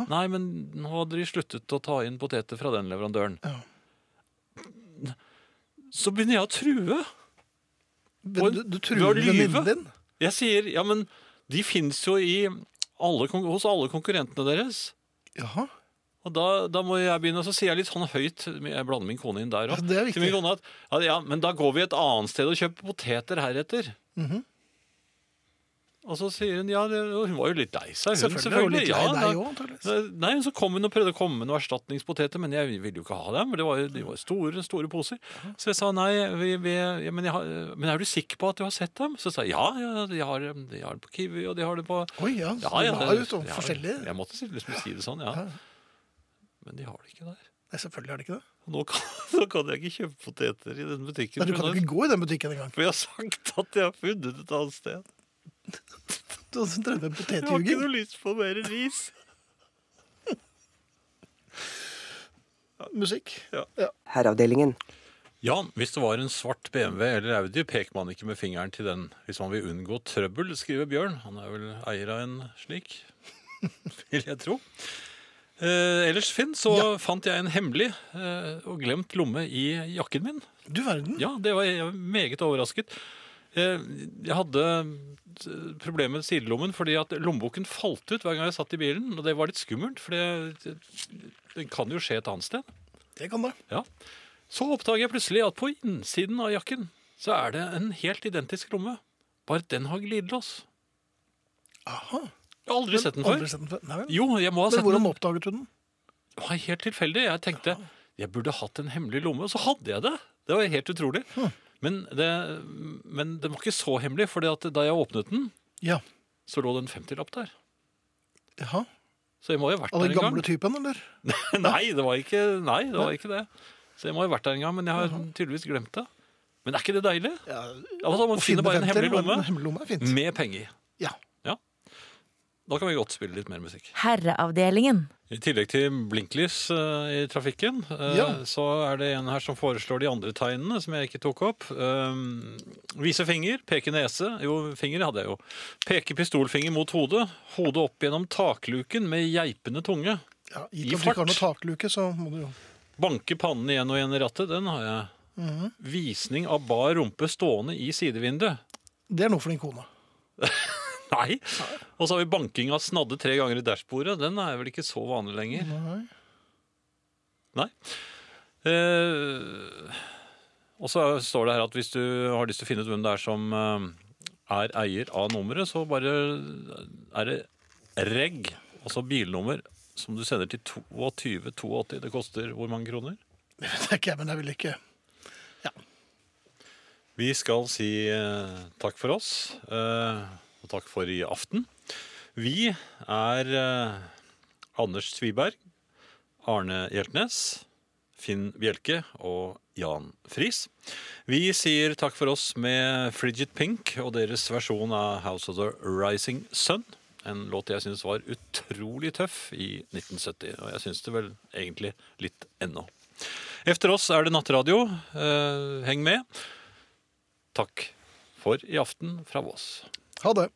B: Nei, men nå hadde de sluttet å ta inn poteter fra den leverandøren. Så begynner jeg å true.
A: Du, du
B: Og ved å
A: truer
B: lyve.
A: venninnen din?
B: Jeg sier ja, men de fins jo i alle, kon- hos alle konkurrentene deres.
A: Jaha.
B: Og da, da må jeg begynne, og så sier jeg litt sånn høyt Jeg blander min kone inn der òg.
A: det er viktig.
B: Ja, ja, men da går vi et annet sted og kjøper poteter heretter.
A: Mhm.
B: Og så sier hun ja, det, og hun var jo litt lei seg. Hun,
A: Selvfølgelig,
B: selvfølgelig.
A: og litt lei
B: ja,
A: deg
B: da-
A: også, antageligvis.
B: Nei, så kom hun og prøvde å komme med noen erstatningspoteter, men jeg ville jo ikke ha dem. for Det var, jo- de var store store poser. Så jeg sa nei, vi, vi, ja, men, jeg har, men er du sikker på at du har sett dem? Så sa jeg ja, ja de, har, de har det på Kiwi, og de har det på
A: Oi, ja. Så
B: ja,
A: du har jo
B: det-
A: sånn
B: ja,
A: forskjellige-
B: Jeg måtte si- liksom si det sånn, ja. Men de har det ikke der.
A: Nei, selvfølgelig er det ikke det.
B: Og nå kan, nå kan jeg ikke kjøpe poteter i den butikken.
A: Nei, du kan
B: for
A: jo ikke gå i den butikken engang.
B: For jeg har sagt at jeg har funnet et annet sted.
A: Du har drevet med
B: Jeg har ikke
A: potetjuging.
B: noe lyst på mer ris.
A: Musikk.
B: Ja.
G: Herreavdelingen.
B: Ja, hvis det var en svart BMW eller Audi, peker man ikke med fingeren til den hvis man vil unngå trøbbel, skriver Bjørn. Han er vel eier av en slik, vil jeg tro. Eh, ellers, Finn, så fant jeg en hemmelig eh, og glemt lomme i jakken min.
A: Du verden.
B: Ja, det var jeg var meget overrasket. Eh, Jeg hadde eh, problemer med sidelommen fordi at lommeboken falt ut hver gang jeg satt i bilen. Og det var litt skummelt, for det, det kan jo skje et annet sted.
A: Det kan det.
B: Ja. Så oppdager jeg plutselig at på innsiden av jakken så er det en helt identisk lomme. Bare at den har glidelås.
A: Aha.
B: Jeg har aldri sett den før.
A: Aldri sett den før. Nei, vel.
B: Jo, jeg må ha
A: Men
B: sett den.
A: hvordan oppdaget du den?
B: Det var helt tilfeldig. Jeg tenkte jeg burde hatt en hemmelig lomme, og så hadde jeg det. Det var helt utrolig.
A: Hm.
B: Men, det, men den var ikke så hemmelig, for da jeg åpnet den,
A: Ja.
B: så lå det en 50-lapp der.
A: Jaha.
B: Så jeg må jo ha vært
A: Av
B: der
A: den
B: en gang.
A: gamle typen, eller?
B: Nei, det var ikke, nei, det var ikke det. Så jeg må ha vært der en gang, men jeg har tydeligvis glemt det. Men er ikke det deilig?
A: Ja,
B: Altså,
A: å
B: man finner
A: finne
B: bare en
A: femtere,
B: hemmelig
A: men
B: lomme
A: En hemmelig lomme er fint.
B: med penger.
A: Ja.
B: Da kan vi godt spille litt mer musikk.
C: Herreavdelingen.
B: I tillegg til blinklys eh, i trafikken, eh,
A: Ja.
B: så er det en her som foreslår de andre tegnene som jeg ikke tok opp. Um, vise finger, peke nese. Jo, finger hadde jeg jo. Peke pistolfinger mot hodet. Hodet opp gjennom takluken med geipende tunge.
A: ja
B: I
A: gitt at du ikke
B: fart.
A: har noe takluke, så må du jo
B: Banke pannen igjen og igjen i rattet. Den har jeg. Visning av bar rumpe stående i sidevinduet.
A: Det er noe for din kone.
B: Nei! Og så har vi banking av snadde tre ganger i dashbordet. Den er vel ikke så vanlig lenger.
A: Nei.
B: Eh, og så står det her at hvis du har lyst til å finne ut hvem det er som eh, er eier av nummeret, så bare eh, er det reg, altså bilnummer, som du sender til 2282. Det koster hvor mange kroner?
A: Det vet jeg ikke, men jeg vil ikke
B: Vi skal si eh, takk for oss, eh, og takk for i aften. Vi er eh, Anders Tviberg, Arne Hjeltnes, Finn Bjelke og Jan Friis. Vi sier takk for oss med Frigid Pink og deres versjon av House of the Rising Sun. En låt jeg syns var utrolig tøff i 1970, og jeg syns det vel egentlig litt ennå. Efter oss er det nattradio. Eh, heng med. Takk for i aften fra Voss.
A: ha det.